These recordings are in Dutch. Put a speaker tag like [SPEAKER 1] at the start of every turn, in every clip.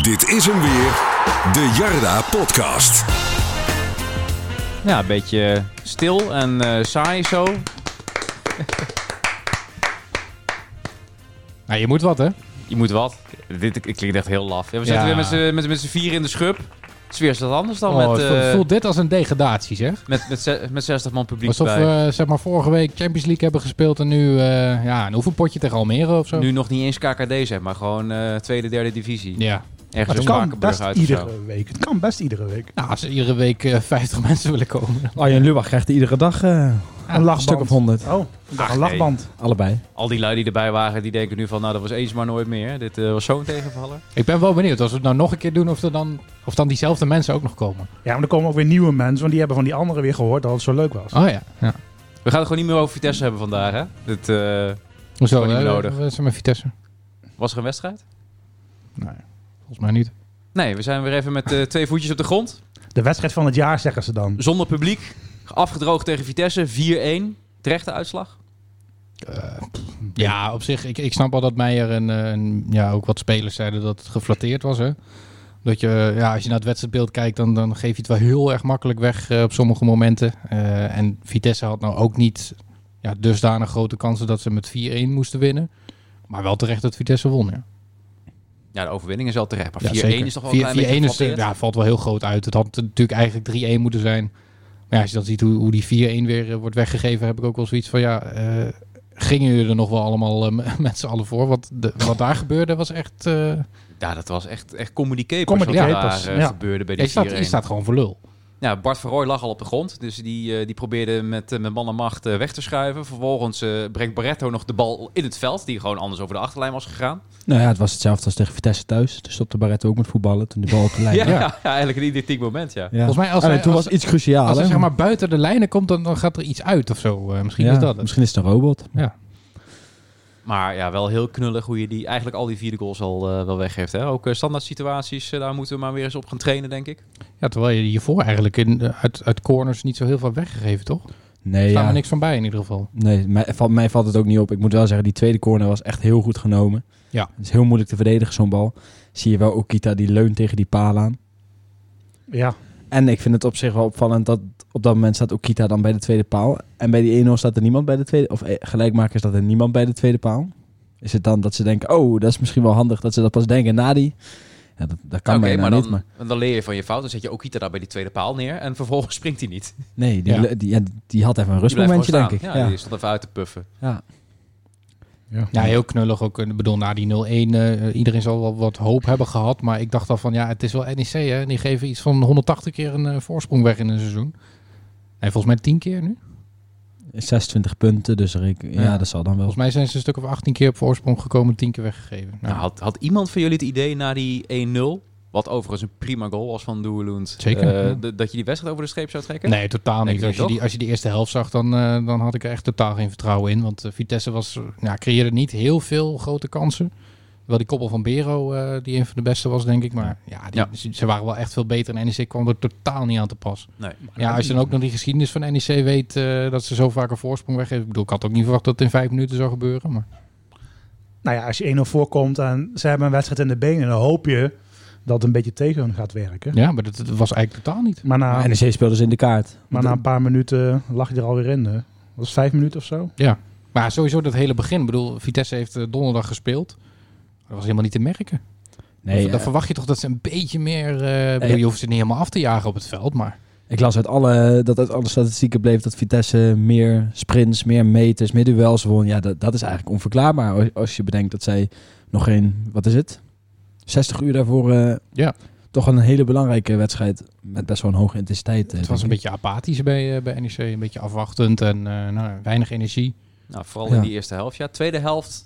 [SPEAKER 1] Dit is hem weer, de Jarda Podcast.
[SPEAKER 2] Ja, een beetje stil en eh, saai zo.
[SPEAKER 3] Nou, je moet wat, hè?
[SPEAKER 2] Je moet wat. Dit klinkt echt heel laf. Ja, we zitten
[SPEAKER 3] Ja.
[SPEAKER 2] weer met z'n- met, met z'n vier in de schub. Het is weer eens wat anders dan
[SPEAKER 3] Oh,
[SPEAKER 2] met,
[SPEAKER 3] ik voel-
[SPEAKER 2] eh,
[SPEAKER 3] voel dit als een degradatie, zeg.
[SPEAKER 2] met, met, ze- met 60 man publiek
[SPEAKER 3] Alsof
[SPEAKER 2] erbij.
[SPEAKER 3] we eh, zeg maar, vorige week Champions League hebben gespeeld en nu eh ja, een oefenpotje tegen Almere of zo.
[SPEAKER 2] Nu nog niet eens KKD zeg maar. Gewoon eh, tweede, derde divisie.
[SPEAKER 3] Ja.
[SPEAKER 2] Ergens
[SPEAKER 4] Maar
[SPEAKER 2] in
[SPEAKER 4] het kan
[SPEAKER 2] Spakenburg
[SPEAKER 4] best
[SPEAKER 2] uit of zo.
[SPEAKER 4] iedere week. Het kan best iedere week.
[SPEAKER 3] Nou, als er iedere week eh, 50 mensen willen komen.
[SPEAKER 5] Arjen Lubach krijgt iedere dag eh,
[SPEAKER 4] Een
[SPEAKER 5] een
[SPEAKER 4] lachband.
[SPEAKER 5] stuk of honderd.
[SPEAKER 4] Oh, een
[SPEAKER 2] Ach,
[SPEAKER 4] lachband.
[SPEAKER 5] Allebei.
[SPEAKER 2] Al die lui die erbij waren, die denken nu van... Nou, dat was eens maar nooit meer. Dit eh, was zo'n tegenvaller.
[SPEAKER 3] Ik ben wel benieuwd, als we het nou nog een keer doen, of, er dan, of dan diezelfde mensen ook nog komen.
[SPEAKER 4] Ja, maar er komen ook weer nieuwe mensen, want die hebben van die anderen weer gehoord dat het zo leuk was.
[SPEAKER 3] Oh ja. ja.
[SPEAKER 2] We gaan het gewoon niet meer over Vitesse hebben vandaag, hè? Dit eh,
[SPEAKER 3] Hoezo?
[SPEAKER 2] Gewoon niet
[SPEAKER 3] eh,
[SPEAKER 2] nodig.
[SPEAKER 3] we zijn met Vitesse.
[SPEAKER 2] was er een wedstrijd.
[SPEAKER 3] Volgens mij niet.
[SPEAKER 2] Nee, we zijn weer even met eh, twee voetjes op de grond.
[SPEAKER 4] De wedstrijd van het jaar, zeggen ze dan.
[SPEAKER 2] Zonder publiek. Afgedroogd tegen Vitesse. 4-1. Terechte uitslag.
[SPEAKER 3] Ja, op zich. Ik, ik snap al dat Meijer en, eh, en ja, ook wat spelers zeiden dat het geflatteerd was. Hè? Dat je, ja, als je naar het wedstrijdbeeld kijkt, dan, dan geef je het wel heel erg makkelijk weg eh, op sommige momenten. Eh, en Vitesse had nou ook niet ja, dusdanig grote kansen dat ze met 4-1 moesten winnen. Maar wel terecht dat Vitesse won. Ja.
[SPEAKER 2] Ja, de overwinning is al terecht. Maar
[SPEAKER 3] Ja,
[SPEAKER 2] 4-1
[SPEAKER 3] zeker.
[SPEAKER 2] is toch wel een klein
[SPEAKER 3] 4-1
[SPEAKER 2] beetje
[SPEAKER 3] is, eh,
[SPEAKER 2] geflatteerd?
[SPEAKER 3] ja, valt wel heel groot uit. Het had natuurlijk eigenlijk 3-1 moeten zijn. Maar ja, als je dan ziet hoe, hoe die 4-1 weer eh, wordt weggegeven, heb ik ook wel zoiets van ja. eh, Gingen jullie er nog wel allemaal eh, m- met z'n allen voor? Want de, wat daar gebeurde was echt... eh,
[SPEAKER 2] Ja, dat was echt, echt comedy capers
[SPEAKER 4] Comedy
[SPEAKER 2] wat
[SPEAKER 4] capers,
[SPEAKER 2] daar eh,
[SPEAKER 4] ja.
[SPEAKER 2] gebeurde bij
[SPEAKER 3] je,
[SPEAKER 2] die 4-1.
[SPEAKER 3] staat, je staat gewoon voor lul.
[SPEAKER 5] Ah,
[SPEAKER 2] Ja, Bart van Rooij lag al op de grond, dus die, eh, die probeerde met, eh, met man en macht eh, weg te schuiven. Vervolgens eh, brengt Barretto nog de bal in het veld, die gewoon anders over de achterlijn was gegaan.
[SPEAKER 5] Nou ja, het was hetzelfde als tegen Vitesse thuis. Toen stopte Barretto ook met voetballen toen de bal op de
[SPEAKER 2] Ja,
[SPEAKER 5] lijn.
[SPEAKER 2] ja.
[SPEAKER 5] Ja.
[SPEAKER 2] eigenlijk een identiek moment, ja.
[SPEAKER 3] Volgens mij als
[SPEAKER 5] Ah, nee,
[SPEAKER 3] hij-
[SPEAKER 5] toen
[SPEAKER 3] als-
[SPEAKER 5] was het iets cruciaal.
[SPEAKER 3] Als hij
[SPEAKER 5] hè?
[SPEAKER 3] zeg maar buiten de lijnen komt, dan, dan gaat er iets uit of zo. Eh, misschien
[SPEAKER 5] Ja,
[SPEAKER 3] is dat het.
[SPEAKER 5] Misschien is het een robot.
[SPEAKER 2] Maar ja, wel heel knullig hoe je die, eigenlijk al die vierde goals al eh, wel weggeeft. Hè? Ook eh, standaard situaties, eh, daar moeten we maar weer eens op gaan trainen, denk ik.
[SPEAKER 3] Ja, terwijl je hiervoor eigenlijk in, eh, uit, uit corners niet zo heel veel weggegeven, toch? Er
[SPEAKER 5] Nee,
[SPEAKER 3] staat
[SPEAKER 5] ja.
[SPEAKER 3] me niks van bij in ieder geval.
[SPEAKER 5] nee mij, valt, mij valt het ook niet op. Ik moet wel zeggen, die tweede corner was echt heel goed genomen.
[SPEAKER 3] Ja.
[SPEAKER 5] Het is heel moeilijk te verdedigen, zo'n bal. Zie je wel Okita die leunt tegen die paal aan.
[SPEAKER 4] Ja,
[SPEAKER 5] En ik vind het op zich wel opvallend dat op dat moment staat Okita dan bij de tweede paal. En bij die 1-0 staat er niemand bij de tweede... Of eh, gelijkmaker staat er niemand bij de tweede paal. Is het dan dat ze denken, oh, dat is misschien wel handig dat ze dat pas denken na die... Ja, dat, dat kan
[SPEAKER 2] Oké,
[SPEAKER 5] bijna
[SPEAKER 2] maar, dan,
[SPEAKER 5] niet, maar...
[SPEAKER 2] dan leer je van je fout. Dan zet je Okita daar bij die tweede paal neer en vervolgens springt hij niet. Die
[SPEAKER 5] Nee, die,
[SPEAKER 3] Ja.
[SPEAKER 5] le- die, ja, die had even een
[SPEAKER 2] blijft gewoon
[SPEAKER 5] rustmomentje, denk ik.
[SPEAKER 2] staan.
[SPEAKER 5] Ja,
[SPEAKER 2] Ja,
[SPEAKER 5] ja.
[SPEAKER 2] die stond even uit te puffen.
[SPEAKER 3] Ja, heel knullig ook. Ik bedoel, na die 0-1, eh, iedereen zal wel wat hoop hebben gehad. Maar ik dacht al van, ja, het is wel NEC, hè. En die geven iets van 180 keer een eh, voorsprong weg in een seizoen. En volgens mij 10 keer nu.
[SPEAKER 5] 26 punten, dus Rick, ja,
[SPEAKER 3] Ja.
[SPEAKER 5] dat zal dan wel...
[SPEAKER 3] Volgens mij zijn ze een stuk of 18 keer op voorsprong gekomen, 10 keer weggegeven. Nou,
[SPEAKER 2] Nou, had, had iemand van jullie het idee na die 1-0, wat overigens een prima goal was van Doerloend,
[SPEAKER 3] Zeker,
[SPEAKER 2] eh,
[SPEAKER 3] ja.
[SPEAKER 2] d- dat je die wedstrijd over de streep zou trekken?
[SPEAKER 3] nee, totaal
[SPEAKER 2] Denk
[SPEAKER 3] niet.
[SPEAKER 2] ik
[SPEAKER 3] Als je,
[SPEAKER 2] toch?
[SPEAKER 3] die, als je die eerste helft zag, dan, eh, dan had ik er echt totaal geen vertrouwen in. Want eh, Vitesse was, eh, ja, creëerde niet heel veel grote kansen. Wel die koppel van Bero, eh, die een van de beste was, denk ik. Maar ja, die,
[SPEAKER 2] Ja.
[SPEAKER 3] Ze, ze waren wel echt veel beter. En NEC kwam er totaal niet aan te pas.
[SPEAKER 2] Nee.
[SPEAKER 3] Ja, als je dan ook nog die geschiedenis van NEC weet eh, dat ze zo vaak een voorsprong weggeven. Ik bedoel, ik had ook niet verwacht dat het in vijf minuten zou gebeuren. Maar
[SPEAKER 4] nou ja, als je 1-0 voorkomt en ze hebben een wedstrijd in de benen, dan hoop je dat het een beetje tegen hun gaat werken.
[SPEAKER 3] ja, maar dat, dat was eigenlijk totaal niet.
[SPEAKER 4] Maar, na,
[SPEAKER 5] Maar NEC speelde ze dus in de kaart.
[SPEAKER 4] maar na een paar minuten lag je er alweer in. Hè? Dat was vijf minuten of zo.
[SPEAKER 3] Maar sowieso dat hele begin. Ik bedoel, Vitesse heeft eh, donderdag gespeeld. Dat was helemaal niet te merken.
[SPEAKER 5] Nee,
[SPEAKER 3] dan
[SPEAKER 5] eh,
[SPEAKER 3] verwacht je toch dat ze een beetje meer... eh, ik bedoel,
[SPEAKER 5] Nee.
[SPEAKER 3] je hoeft ze niet helemaal af te jagen op het veld, maar...
[SPEAKER 5] Ik las uit alle, dat uit alle statistieken bleef dat Vitesse meer sprints, meer meters, meer duels won. Ja, dat, dat is eigenlijk onverklaarbaar als, als je bedenkt dat zij nog geen, wat is het, 60 uur daarvoor eh,
[SPEAKER 3] Ja.
[SPEAKER 5] toch een hele belangrijke wedstrijd met best wel een hoge intensiteit. eh,
[SPEAKER 3] Het was een
[SPEAKER 5] denk ik.
[SPEAKER 3] beetje apathisch bij, eh, bij NEC. Een beetje afwachtend en eh, nou, weinig energie.
[SPEAKER 2] Nou, vooral
[SPEAKER 5] Ja.
[SPEAKER 2] in die eerste helft. Ja, tweede helft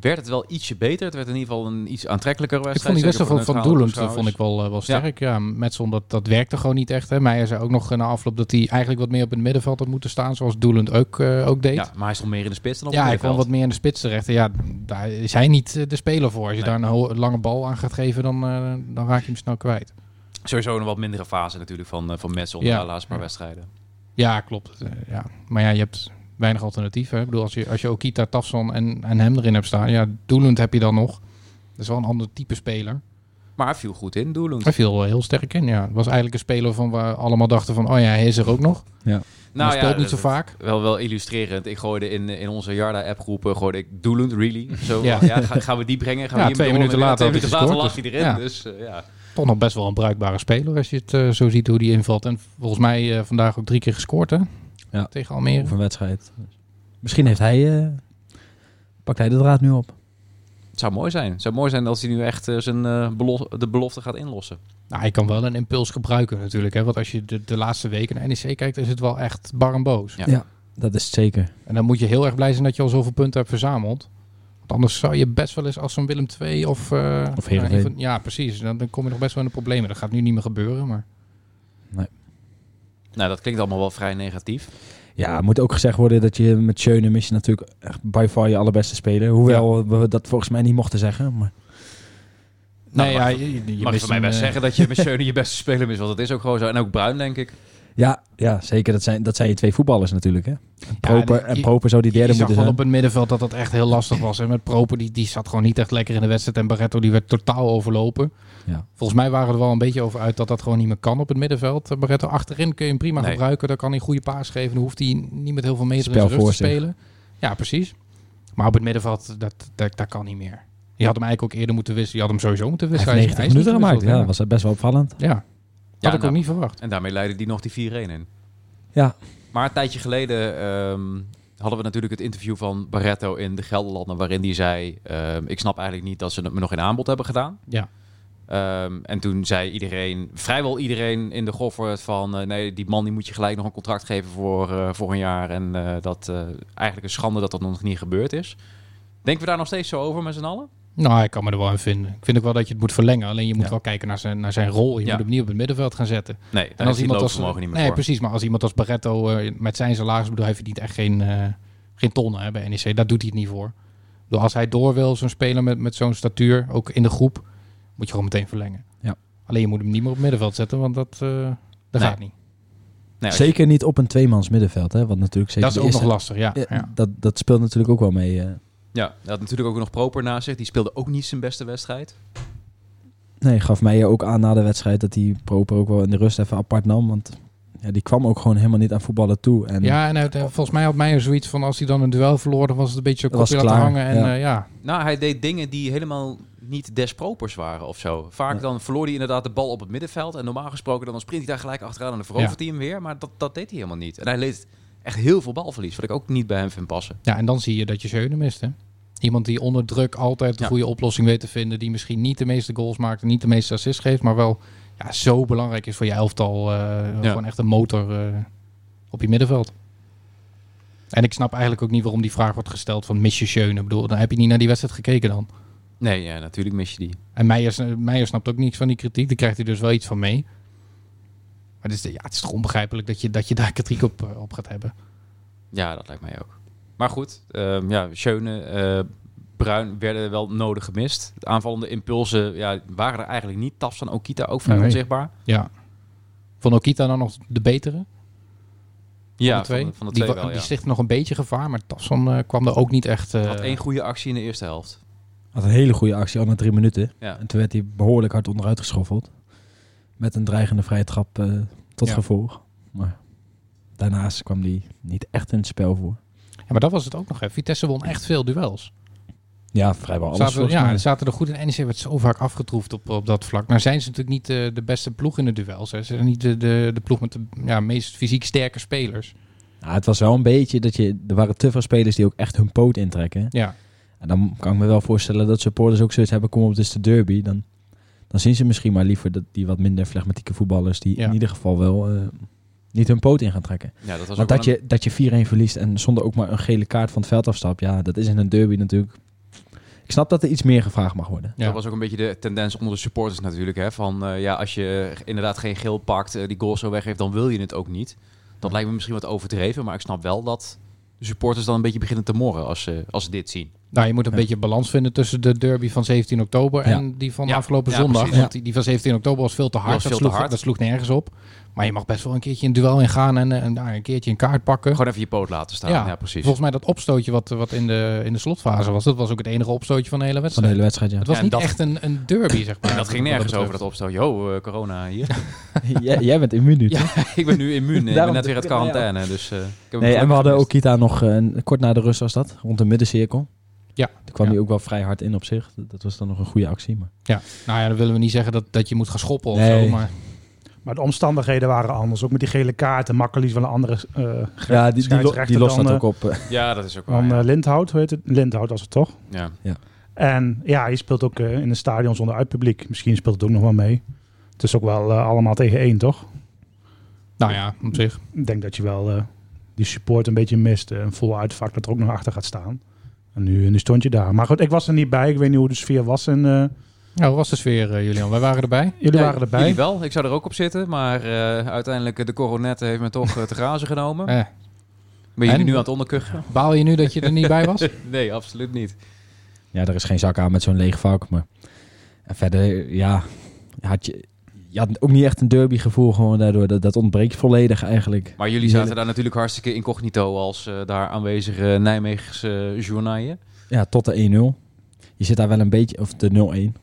[SPEAKER 2] werd het wel ietsje beter. Het werd in ieder geval een iets aantrekkelijker
[SPEAKER 3] Ik
[SPEAKER 2] wedstrijd.
[SPEAKER 3] vond die
[SPEAKER 2] zeker
[SPEAKER 3] wedstrijd van,
[SPEAKER 2] voor
[SPEAKER 3] van
[SPEAKER 2] de
[SPEAKER 3] Doelend eh,
[SPEAKER 2] neutrale
[SPEAKER 3] vond ik wel, eh, wel sterk. Ja. Metson, dat, dat werkte gewoon niet echt. Hè. Meijer zei ook nog eh, na afloop dat hij eigenlijk wat meer op het middenveld had moeten staan. Zoals Doelend ook, eh, ook deed.
[SPEAKER 2] toeschouwers.
[SPEAKER 3] Ja,
[SPEAKER 2] Ja, maar hij stond meer in de spits dan op
[SPEAKER 3] hij
[SPEAKER 2] het
[SPEAKER 3] kwam wat
[SPEAKER 2] middenveld.
[SPEAKER 3] meer in de spits terecht. En Ja, daar is hij niet eh, de speler voor. Als je
[SPEAKER 2] Nee.
[SPEAKER 3] daar een ho- lange bal aan gaat geven, dan, eh, dan raak je hem snel kwijt.
[SPEAKER 2] Sowieso een wat mindere fase natuurlijk van, eh, van Metsel
[SPEAKER 3] Ja.
[SPEAKER 2] na de laatste paar wedstrijden.
[SPEAKER 3] Ja, klopt. Eh, ja. Maar ja, je hebt weinig alternatieven. hè. Ik bedoel, als je, als je Okita, Tafson en, en hem erin hebt staan, ja, Doelend heb je dan nog. Dat is wel een ander type speler.
[SPEAKER 2] Maar hij viel goed in, Doelund.
[SPEAKER 3] Hij viel wel heel sterk in, ja. Het was eigenlijk een speler van waar we allemaal dachten van... oh ja, hij is er ook nog. Nou, hij speelt niet zo
[SPEAKER 2] dat-
[SPEAKER 3] vaak.
[SPEAKER 2] Wel, wel illustrerend. Ik gooide in, in onze Jarda-appgroepen gooide ik Doelund, really. Zo, ja.
[SPEAKER 3] Ja.
[SPEAKER 2] ga- gaan we die brengen? Gaan
[SPEAKER 3] Ja,
[SPEAKER 2] we die
[SPEAKER 3] twee
[SPEAKER 2] met
[SPEAKER 3] minuten
[SPEAKER 2] Doelund
[SPEAKER 3] later
[SPEAKER 2] winnen?
[SPEAKER 3] had
[SPEAKER 2] Twee
[SPEAKER 3] hij
[SPEAKER 2] minuten later lag
[SPEAKER 3] gescoord,
[SPEAKER 2] hij erin. Dus, eh, ja.
[SPEAKER 3] Toch nog best wel een bruikbare speler als je het eh, zo ziet hoe die invalt. En volgens mij eh, vandaag ook drie keer gescoord, hè?
[SPEAKER 5] Ja.
[SPEAKER 3] Tegen Almere.
[SPEAKER 5] Of een wedstrijd. Misschien heeft hij, eh, pakt hij de draad nu op.
[SPEAKER 2] Het zou mooi zijn. Het zou mooi zijn als hij nu echt eh, zijn, eh, belo- de belofte gaat inlossen.
[SPEAKER 3] Nou, hij kan wel een impuls gebruiken natuurlijk. Hè? Want als je de, de laatste weken naar NEC kijkt, is het wel echt bar en boos.
[SPEAKER 2] Ja.
[SPEAKER 5] Dat is het zeker.
[SPEAKER 3] En dan moet je heel erg blij zijn dat je al zoveel punten hebt verzameld. Want anders zou je best wel eens als zo'n Willem 2 of... eh,
[SPEAKER 5] Of Heerenveen.
[SPEAKER 3] een van- Ja, precies. Dan, dan kom je nog best wel in de problemen. Dat gaat nu niet meer gebeuren, maar...
[SPEAKER 2] Nou, dat klinkt allemaal wel vrij negatief.
[SPEAKER 5] Ja, moet ook gezegd worden dat je met Schöne mis je natuurlijk echt by far je allerbeste speler. Hoewel we dat volgens mij niet mochten zeggen. Maar
[SPEAKER 2] Nou, mag-
[SPEAKER 3] je, je
[SPEAKER 2] Je mag je
[SPEAKER 3] mist
[SPEAKER 2] van mij
[SPEAKER 3] een,
[SPEAKER 2] best
[SPEAKER 3] eh,
[SPEAKER 2] zeggen dat je met Schöne je beste speler is. Want dat is ook gewoon zo. En ook Bruin, denk ik.
[SPEAKER 5] ja, ja zeker. Dat zijn, dat zijn je twee voetballers natuurlijk. Hè? En
[SPEAKER 3] Ja,
[SPEAKER 5] Proper,
[SPEAKER 3] nee,
[SPEAKER 5] en
[SPEAKER 3] je-
[SPEAKER 5] Proper zou die
[SPEAKER 3] Je
[SPEAKER 5] derde dus
[SPEAKER 3] zag wel
[SPEAKER 5] moeten zijn.
[SPEAKER 3] op het middenveld dat dat echt heel lastig was. En met Proper, die, die zat gewoon niet echt lekker in de wedstrijd. En Barretto, die werd totaal overlopen.
[SPEAKER 5] Ja.
[SPEAKER 3] Volgens mij waren we er wel een beetje over uit dat dat gewoon niet meer kan op het middenveld. Eh, Barretto, achterin kun je hem prima
[SPEAKER 2] Nee.
[SPEAKER 3] gebruiken. Daar kan hij een goede paas geven. Dan hoeft hij niet met heel veel meter
[SPEAKER 5] Spel
[SPEAKER 3] in zijn rug te
[SPEAKER 5] voor zich.
[SPEAKER 3] spelen. Ja, precies. Maar op het middenveld, dat, dat, dat kan niet meer. Je had hem eigenlijk ook eerder moeten wisselen. Je had hem sowieso moeten
[SPEAKER 5] Hij heeft
[SPEAKER 3] wisselen.
[SPEAKER 5] 90 minuten gemaakt. Ja, dat
[SPEAKER 3] Ja,
[SPEAKER 5] was best wel opvallend.
[SPEAKER 3] ja. had
[SPEAKER 2] Ja,
[SPEAKER 3] ik
[SPEAKER 2] nou,
[SPEAKER 3] ook niet verwacht.
[SPEAKER 2] En daarmee leidde die nog die 4-1 in.
[SPEAKER 5] Ja.
[SPEAKER 2] Maar een tijdje geleden ehm, hadden we natuurlijk het interview van Barretto in de Gelderlanden. Waarin hij zei: ehm, Ik snap eigenlijk niet dat ze het me nog in aanbod hebben gedaan.
[SPEAKER 3] Ja.
[SPEAKER 2] Ehm, en toen zei iedereen, vrijwel iedereen in de Goffert van... eh, nee, die man die moet je gelijk nog een contract geven voor, eh, voor een jaar. En eh, dat eh, eigenlijk een schande dat dat nog niet gebeurd is. Denken we daar nog steeds zo over met z'n allen?
[SPEAKER 3] Nou, ik kan me er wel in vinden. Ik vind ook wel dat je het moet verlengen. Alleen je moet
[SPEAKER 5] Ja.
[SPEAKER 3] wel kijken naar zijn, naar zijn rol. Je
[SPEAKER 2] Ja.
[SPEAKER 3] moet hem niet op het middenveld gaan zetten.
[SPEAKER 2] Nee, daar
[SPEAKER 3] En als iemand als,
[SPEAKER 2] als mogen niet meer
[SPEAKER 3] nee,
[SPEAKER 2] voor.
[SPEAKER 3] precies. Maar als iemand als Barretto eh, met zijn salarisbedrijf verdient echt geen, eh, geen tonnen hè, bij NEC. Daar doet hij het niet voor. Ik bedoel, als hij door wil, zo'n speler met, met zo'n statuur, ook in de groep, moet je gewoon meteen verlengen.
[SPEAKER 5] Ja.
[SPEAKER 3] Alleen je moet hem niet meer op het middenveld zetten, want dat, eh, dat
[SPEAKER 2] Nee.
[SPEAKER 3] gaat niet.
[SPEAKER 2] Nee, als je-
[SPEAKER 5] Zeker niet op een tweemans middenveld. Hè? Want natuurlijk zeker
[SPEAKER 3] dat is
[SPEAKER 5] de
[SPEAKER 3] ook nog
[SPEAKER 5] eerste-
[SPEAKER 3] lastig, ja. ja.
[SPEAKER 5] Ja, Dat, dat speelt natuurlijk ook wel mee. eh.
[SPEAKER 2] ja, hij had natuurlijk ook nog Proper naast zich. Die speelde ook niet zijn beste wedstrijd.
[SPEAKER 5] Nee, gaf mij ook aan na de wedstrijd dat hij Proper ook wel in de rust even apart nam. Want ja, die kwam ook gewoon helemaal niet aan voetballen toe. En
[SPEAKER 3] Ja, en uit, eh, volgens mij had Meijer zoiets van als hij dan een duel verloor, dan was het een beetje zo
[SPEAKER 5] Dat was
[SPEAKER 3] kopje laten
[SPEAKER 5] klaar,
[SPEAKER 3] hangen. En,
[SPEAKER 5] ja.
[SPEAKER 3] eh, ja.
[SPEAKER 2] Nou, hij deed dingen die helemaal niet des propers waren of zo. Vaak
[SPEAKER 5] Ja.
[SPEAKER 2] dan verloor hij inderdaad de bal op het middenveld. En normaal gesproken dan sprint hij daar gelijk achteraan en dan verovert hij hem weer. Maar dat, dat deed hij helemaal niet. En hij leed echt heel veel balverlies, wat ik ook niet bij hem vind passen.
[SPEAKER 3] Ja, en dan zie je dat je Schöne mist, hè? Iemand die onder druk altijd de
[SPEAKER 2] Ja.
[SPEAKER 3] goede oplossing weet te vinden. Die misschien niet de meeste goals maakt en niet de meeste assists geeft. Maar wel ja, zo belangrijk is voor je elftal. eh, Gewoon echt een motor eh, op je middenveld. En ik snap eigenlijk ook niet waarom die vraag wordt gesteld van mis je Schöne? Ik bedoel, dan heb je niet naar die wedstrijd gekeken dan.
[SPEAKER 2] Nee, ja, natuurlijk mis je die.
[SPEAKER 3] En Meijer, sn- Meijer snapt ook niks van die kritiek. Daar krijgt hij dus wel iets van mee. Maar het is, ja, het is toch onbegrijpelijk dat je, dat je daar kritiek op, eh, op gaat hebben.
[SPEAKER 2] Ja, dat lijkt mij ook. Maar goed, ehm, ja, Schöne, eh, Bruin werden wel nodig gemist. De aanvallende impulsen ja, waren er eigenlijk niet. Taps van Okita ook vrij
[SPEAKER 3] Nee.
[SPEAKER 2] onzichtbaar.
[SPEAKER 3] Ja. Vond Okita dan nog de betere?
[SPEAKER 2] Ja,
[SPEAKER 3] van de twee.
[SPEAKER 2] Van, de, van de
[SPEAKER 3] die,
[SPEAKER 2] twee
[SPEAKER 3] wa-
[SPEAKER 2] wel,
[SPEAKER 3] die
[SPEAKER 2] ja.
[SPEAKER 3] stichtte nog een beetje gevaar, maar Tafsan eh, kwam er ook niet echt... eh,
[SPEAKER 2] Had één goede actie in de eerste helft.
[SPEAKER 5] had een hele goede actie al na drie minuten.
[SPEAKER 2] Ja.
[SPEAKER 5] En toen werd hij behoorlijk hard onderuit geschoffeld. Met een dreigende vrije trap eh, tot
[SPEAKER 3] Ja.
[SPEAKER 5] gevolg. Maar daarnaast kwam hij niet echt in het spel voor.
[SPEAKER 3] ja, maar dat was het ook nog. Hè. Vitesse won echt veel duels.
[SPEAKER 5] Ja, vrijwel alles
[SPEAKER 3] Zaten,
[SPEAKER 5] volgens
[SPEAKER 3] ja,
[SPEAKER 5] mij.
[SPEAKER 3] ze zaten er goed in. NEC werd zo vaak afgetroefd op, op dat vlak. Nou zijn ze natuurlijk niet eh, de beste ploeg in de duels. Hè. Ze zijn niet de, de, de ploeg met de ja, meest fysiek sterke spelers.
[SPEAKER 5] Ja, het was wel een beetje dat je... Er waren te veel spelers die ook echt hun poot intrekken.
[SPEAKER 3] Ja,
[SPEAKER 5] En dan kan ik me wel voorstellen dat supporters ook zoiets hebben... Kom op, het is de derby. Dan, dan zien ze misschien maar liever dat die wat minder flegmatieke voetballers... die
[SPEAKER 3] Ja.
[SPEAKER 5] in ieder geval wel eh, niet hun poot in gaan trekken.
[SPEAKER 2] Ja, dat was ook
[SPEAKER 5] Want
[SPEAKER 2] wel
[SPEAKER 5] dat je, dat je 4-1 verliest en zonder ook maar een gele kaart van het veld afstapt, ja, dat is in een derby natuurlijk. Ik snap dat er iets meer gevraagd mag worden.
[SPEAKER 3] ja.
[SPEAKER 2] Dat was ook een beetje de tendens onder de supporters natuurlijk. Hè? Van eh, ja, als je inderdaad geen geel pakt, eh, die goal zo weggeeft, dan wil je het ook niet. Dat lijkt me misschien wat overdreven, maar ik snap wel dat de supporters dan een beetje beginnen te morren als ze, als ze dit zien.
[SPEAKER 3] Nou, je moet een
[SPEAKER 5] Ja.
[SPEAKER 3] beetje balans vinden tussen de derby van 17 oktober en die van
[SPEAKER 2] Ja.
[SPEAKER 3] afgelopen
[SPEAKER 2] Ja,
[SPEAKER 3] zondag.
[SPEAKER 2] precies.
[SPEAKER 3] Want die, die van 17 oktober was veel te hard.
[SPEAKER 2] was
[SPEAKER 3] dat,
[SPEAKER 2] veel te
[SPEAKER 3] sloeg,
[SPEAKER 2] hard.
[SPEAKER 3] dat sloeg nergens op. Maar je mag best wel een keertje een duel ingaan en, eh, en daar een keertje een kaart pakken.
[SPEAKER 2] Gewoon even je poot laten staan. Ja, precies.
[SPEAKER 3] Volgens mij dat opstootje wat, wat in, de, in de slotfase was, dat was ook het enige opstootje van de hele
[SPEAKER 5] Van
[SPEAKER 3] wedstrijd.
[SPEAKER 5] de hele wedstrijd, ja.
[SPEAKER 3] Het was
[SPEAKER 2] Ja, en
[SPEAKER 3] niet
[SPEAKER 2] dat-
[SPEAKER 3] echt een, een derby, zeg maar.
[SPEAKER 2] En dat ging
[SPEAKER 3] wat
[SPEAKER 2] nergens
[SPEAKER 3] betreft.
[SPEAKER 2] over dat opstel. Yo, eh, corona hier.
[SPEAKER 5] jij, jij bent immuun nu, toch?
[SPEAKER 2] Ja, ik ben nu immuun. Ik ben
[SPEAKER 5] Daarom-
[SPEAKER 2] net weer uit
[SPEAKER 5] ja, ja.
[SPEAKER 2] quarantaine. Dus, eh, ik heb hem
[SPEAKER 5] Nee, en
[SPEAKER 2] gelukkig
[SPEAKER 5] we hadden
[SPEAKER 2] gemist.
[SPEAKER 5] Okita nog eh, een- kort na de rust was dat, rond de middencirkel.
[SPEAKER 3] Ja.
[SPEAKER 5] Toen kwam
[SPEAKER 3] Ja.
[SPEAKER 5] hij ook wel vrij hard in op zich. Dat dat was dan nog een goede actie. Maar...
[SPEAKER 3] Ja, nou ja, dan willen we niet zeggen dat, dat je moet gaan schoppen of
[SPEAKER 5] Nee.
[SPEAKER 3] zo, maar
[SPEAKER 4] Maar de omstandigheden waren anders. Ook met die gele kaart en makkelijk van de andere eh
[SPEAKER 5] Ja, die, die, lo- die
[SPEAKER 4] scheidsrechter
[SPEAKER 5] lost
[SPEAKER 4] dan,
[SPEAKER 5] dat ook op. eh.
[SPEAKER 2] Ja, dat is ook wel.
[SPEAKER 4] van
[SPEAKER 2] Oh, ja.
[SPEAKER 4] eh, Lindhout. Hoe heet het? Lindhout was het toch?
[SPEAKER 2] Ja.
[SPEAKER 4] En ja, je speelt ook eh, in een stadion zonder uitpubliek. Misschien speelt het ook nog wel mee. Het is ook wel eh, allemaal tegen één, toch?
[SPEAKER 3] nou ja, op zich.
[SPEAKER 4] Ik denk dat je wel eh, die support een beetje mist. Eh, een vol uitvak dat er ook nog achter gaat staan. En nu, nu stond je daar. Maar goed, ik was er niet bij. Ik weet niet hoe de sfeer was. En, eh,
[SPEAKER 3] Nou, hoe was de sfeer, eh, Julian? Wij waren erbij.
[SPEAKER 4] jullie
[SPEAKER 2] Ja,
[SPEAKER 4] waren erbij.
[SPEAKER 2] Jullie wel. Ik zou er ook op zitten. Maar eh, uiteindelijk, eh, de coronette heeft me toch eh, te grazen genomen.
[SPEAKER 3] Eh,
[SPEAKER 2] Ben jullie
[SPEAKER 3] en?
[SPEAKER 2] nu aan het onderkuchen?
[SPEAKER 3] baal je nu dat je er niet bij was?
[SPEAKER 2] Nee, absoluut niet.
[SPEAKER 5] Ja, er is geen zak aan met zo'n leeg vak. Maar... En verder, ja, had je, je had ook niet echt een derby gevoel gewoon daardoor. Dat, dat ontbreekt volledig eigenlijk.
[SPEAKER 2] Maar jullie zaten daar natuurlijk hartstikke incognito als eh, daar aanwezige Nijmeegse eh, journaaien.
[SPEAKER 5] Ja, tot de 1-0. Je zit daar wel een beetje, of de 0-1.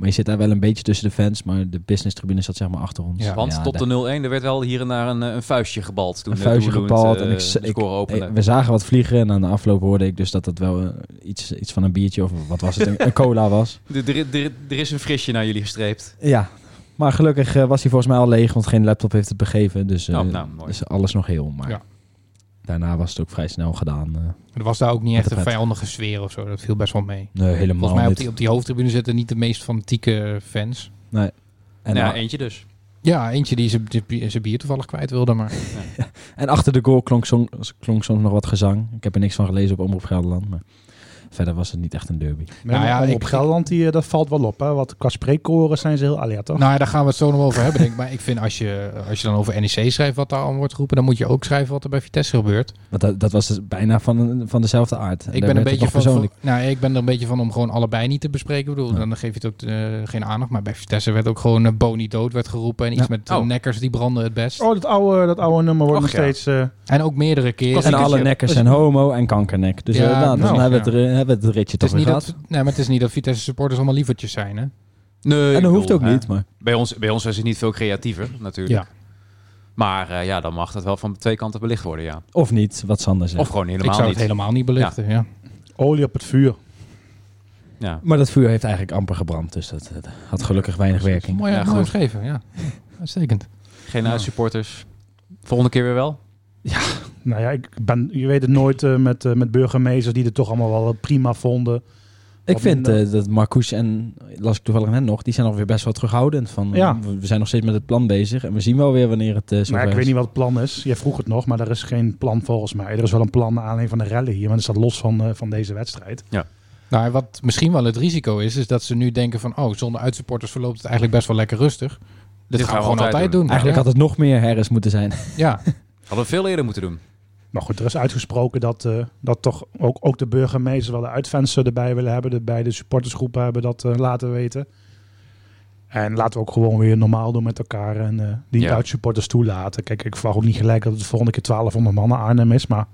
[SPEAKER 5] Maar je zit daar wel een beetje tussen de fans. Maar de business tribune zat zeg maar achter ons.
[SPEAKER 3] Ja.
[SPEAKER 2] Want
[SPEAKER 5] Ja,
[SPEAKER 2] tot
[SPEAKER 5] daar-
[SPEAKER 2] de 0-1, er werd wel hier en daar een, eh, een vuistje gebald. Toen
[SPEAKER 5] Een
[SPEAKER 2] de
[SPEAKER 5] vuistje
[SPEAKER 2] doeldoend,
[SPEAKER 5] gebald
[SPEAKER 2] eh,
[SPEAKER 5] en ik-
[SPEAKER 2] de
[SPEAKER 5] ik-
[SPEAKER 2] score opende.
[SPEAKER 5] Hey, we zagen wat vliegen en aan de afloop hoorde ik dus dat dat wel eh, iets, iets van een biertje of wat was het, een, een cola was.
[SPEAKER 2] Er- Er er- er is een frisje naar jullie gestreept.
[SPEAKER 5] Ja, maar gelukkig eh, was hij volgens mij al leeg, want geen laptop heeft het begeven. Dus eh,
[SPEAKER 2] Nou, nou, mooi.
[SPEAKER 5] is alles nog heel, maar
[SPEAKER 3] Ja.
[SPEAKER 5] daarna was het ook vrij snel gedaan. eh.
[SPEAKER 3] Er was daar ook niet echt een
[SPEAKER 5] vet.
[SPEAKER 3] vijandige sfeer of zo. Dat viel best wel mee.
[SPEAKER 5] nee, Eh, helemaal
[SPEAKER 3] Volgens mij op
[SPEAKER 5] niet.
[SPEAKER 3] die, op die hoofdtribune zitten niet de meest fanatieke fans.
[SPEAKER 5] En,
[SPEAKER 2] nou,
[SPEAKER 5] a-
[SPEAKER 2] eentje dus.
[SPEAKER 3] Ja, eentje die zijn- die zijn bier toevallig kwijt wilde, maar...
[SPEAKER 5] en achter de goal klonk, som- klonk soms nog wat gezang. Ik heb er niks van gelezen op Omroep Gelderland, maar verder was het niet echt een derby.
[SPEAKER 3] Nou ja,
[SPEAKER 4] op
[SPEAKER 3] ik-
[SPEAKER 4] Gelderland, die, eh, dat valt wel op. Hè? Want qua spreekkoren zijn ze heel alert, toch?
[SPEAKER 3] Nou ja, daar gaan we het zo nog over hebben, denk ik. Maar ik vind, als je, als je dan over NEC schrijft wat daar allemaal wordt geroepen... dan moet je ook schrijven wat er bij Vitesse gebeurt.
[SPEAKER 5] Want dat, dat was dus bijna van, een- van dezelfde aard. En
[SPEAKER 3] Ik ben,
[SPEAKER 5] daar
[SPEAKER 3] een
[SPEAKER 5] werd het
[SPEAKER 3] beetje
[SPEAKER 5] nog
[SPEAKER 3] van,
[SPEAKER 5] persoonlijk.
[SPEAKER 3] van- nou, ik ben er een beetje van om gewoon allebei niet te bespreken. Ik bedoel,
[SPEAKER 5] Ja.
[SPEAKER 3] dan geef je het ook eh, geen aandacht. Maar bij Vitesse werd ook gewoon eh, Boni dood werd geroepen... en iets
[SPEAKER 5] Ja.
[SPEAKER 3] met eh,
[SPEAKER 2] Oh.
[SPEAKER 3] nekkers die branden het best.
[SPEAKER 4] Oh, dat oude, dat oude nummer wordt
[SPEAKER 2] Och,
[SPEAKER 4] nog
[SPEAKER 2] ja.
[SPEAKER 4] steeds... eh,
[SPEAKER 3] En ook meerdere keren.
[SPEAKER 5] En alle nekkers zijn homo en kankernek. Dus
[SPEAKER 3] Ja,
[SPEAKER 5] eh, nou, dan
[SPEAKER 3] nou,
[SPEAKER 5] hebben, we
[SPEAKER 3] ja.
[SPEAKER 5] het, eh, hebben we het ritje
[SPEAKER 3] Het is,
[SPEAKER 5] toch weer
[SPEAKER 3] niet
[SPEAKER 5] gehad.
[SPEAKER 3] dat, nee, maar het is niet dat Vitesse supporters allemaal lievertjes zijn, hè?
[SPEAKER 2] Nee,
[SPEAKER 5] En
[SPEAKER 2] ik
[SPEAKER 5] dat hoeft ook
[SPEAKER 2] bedoel,
[SPEAKER 5] niet,
[SPEAKER 2] eh,
[SPEAKER 5] maar...
[SPEAKER 2] Bij ons, bij ons zijn ze niet veel creatiever, natuurlijk.
[SPEAKER 3] Ja.
[SPEAKER 2] Maar eh, ja, dan mag dat wel van twee kanten belicht worden, ja.
[SPEAKER 5] Of niet, wat Sander zegt.
[SPEAKER 2] Of gewoon
[SPEAKER 3] ik
[SPEAKER 2] helemaal
[SPEAKER 3] zou
[SPEAKER 2] niet.
[SPEAKER 3] het helemaal niet belichten, ja.
[SPEAKER 4] olie op het vuur.
[SPEAKER 2] Ja.
[SPEAKER 5] Maar dat vuur heeft eigenlijk amper gebrand, dus dat, dat had gelukkig weinig werking.
[SPEAKER 3] Mooi,
[SPEAKER 2] Ja,
[SPEAKER 3] mooi
[SPEAKER 2] goed.
[SPEAKER 3] omschreven, ja. Uitstekend.
[SPEAKER 2] Geen uitsupporters. Volgende keer weer wel.
[SPEAKER 4] Nou ja, ik ben, je weet het nooit eh, met, eh, met burgemeesters die het toch allemaal wel eh, prima vonden.
[SPEAKER 5] Ik
[SPEAKER 4] Wat
[SPEAKER 5] vind
[SPEAKER 4] minder.
[SPEAKER 5] eh, dat Marcouch en, las ik toevallig net nog, die zijn alweer best wel terughoudend. Van,
[SPEAKER 4] Ja.
[SPEAKER 5] eh, we we zijn nog steeds met het plan bezig en we zien wel weer wanneer het eh zo
[SPEAKER 4] Maar ik weet niet wat het plan is. Jij vroeg het nog, maar er is geen plan volgens mij. Er is wel een plan naar aanleiding van de rally hier, maar dat staat los van, eh, van deze wedstrijd.
[SPEAKER 3] Nou, wat misschien wel het risico is, is dat ze nu denken van... oh, zonder uitsupporters verloopt het eigenlijk best wel lekker rustig. Dit, gaan we gewoon altijd, doen.
[SPEAKER 5] Eigenlijk had het nog meer herres moeten zijn.
[SPEAKER 3] Ja,
[SPEAKER 2] Hadden we veel eerder moeten doen.
[SPEAKER 4] Maar goed, er is uitgesproken dat, eh, dat toch ook, ook de burgemeesters wel de uitvenster erbij willen hebben. De beide supportersgroepen hebben dat eh, laten weten. En laten we ook gewoon weer normaal doen met elkaar en eh, die
[SPEAKER 2] Ja.
[SPEAKER 4] uitsupporters toelaten. Kijk, ik verwacht ook niet gelijk dat het de volgende keer 1200 man naar Arnhem is, maar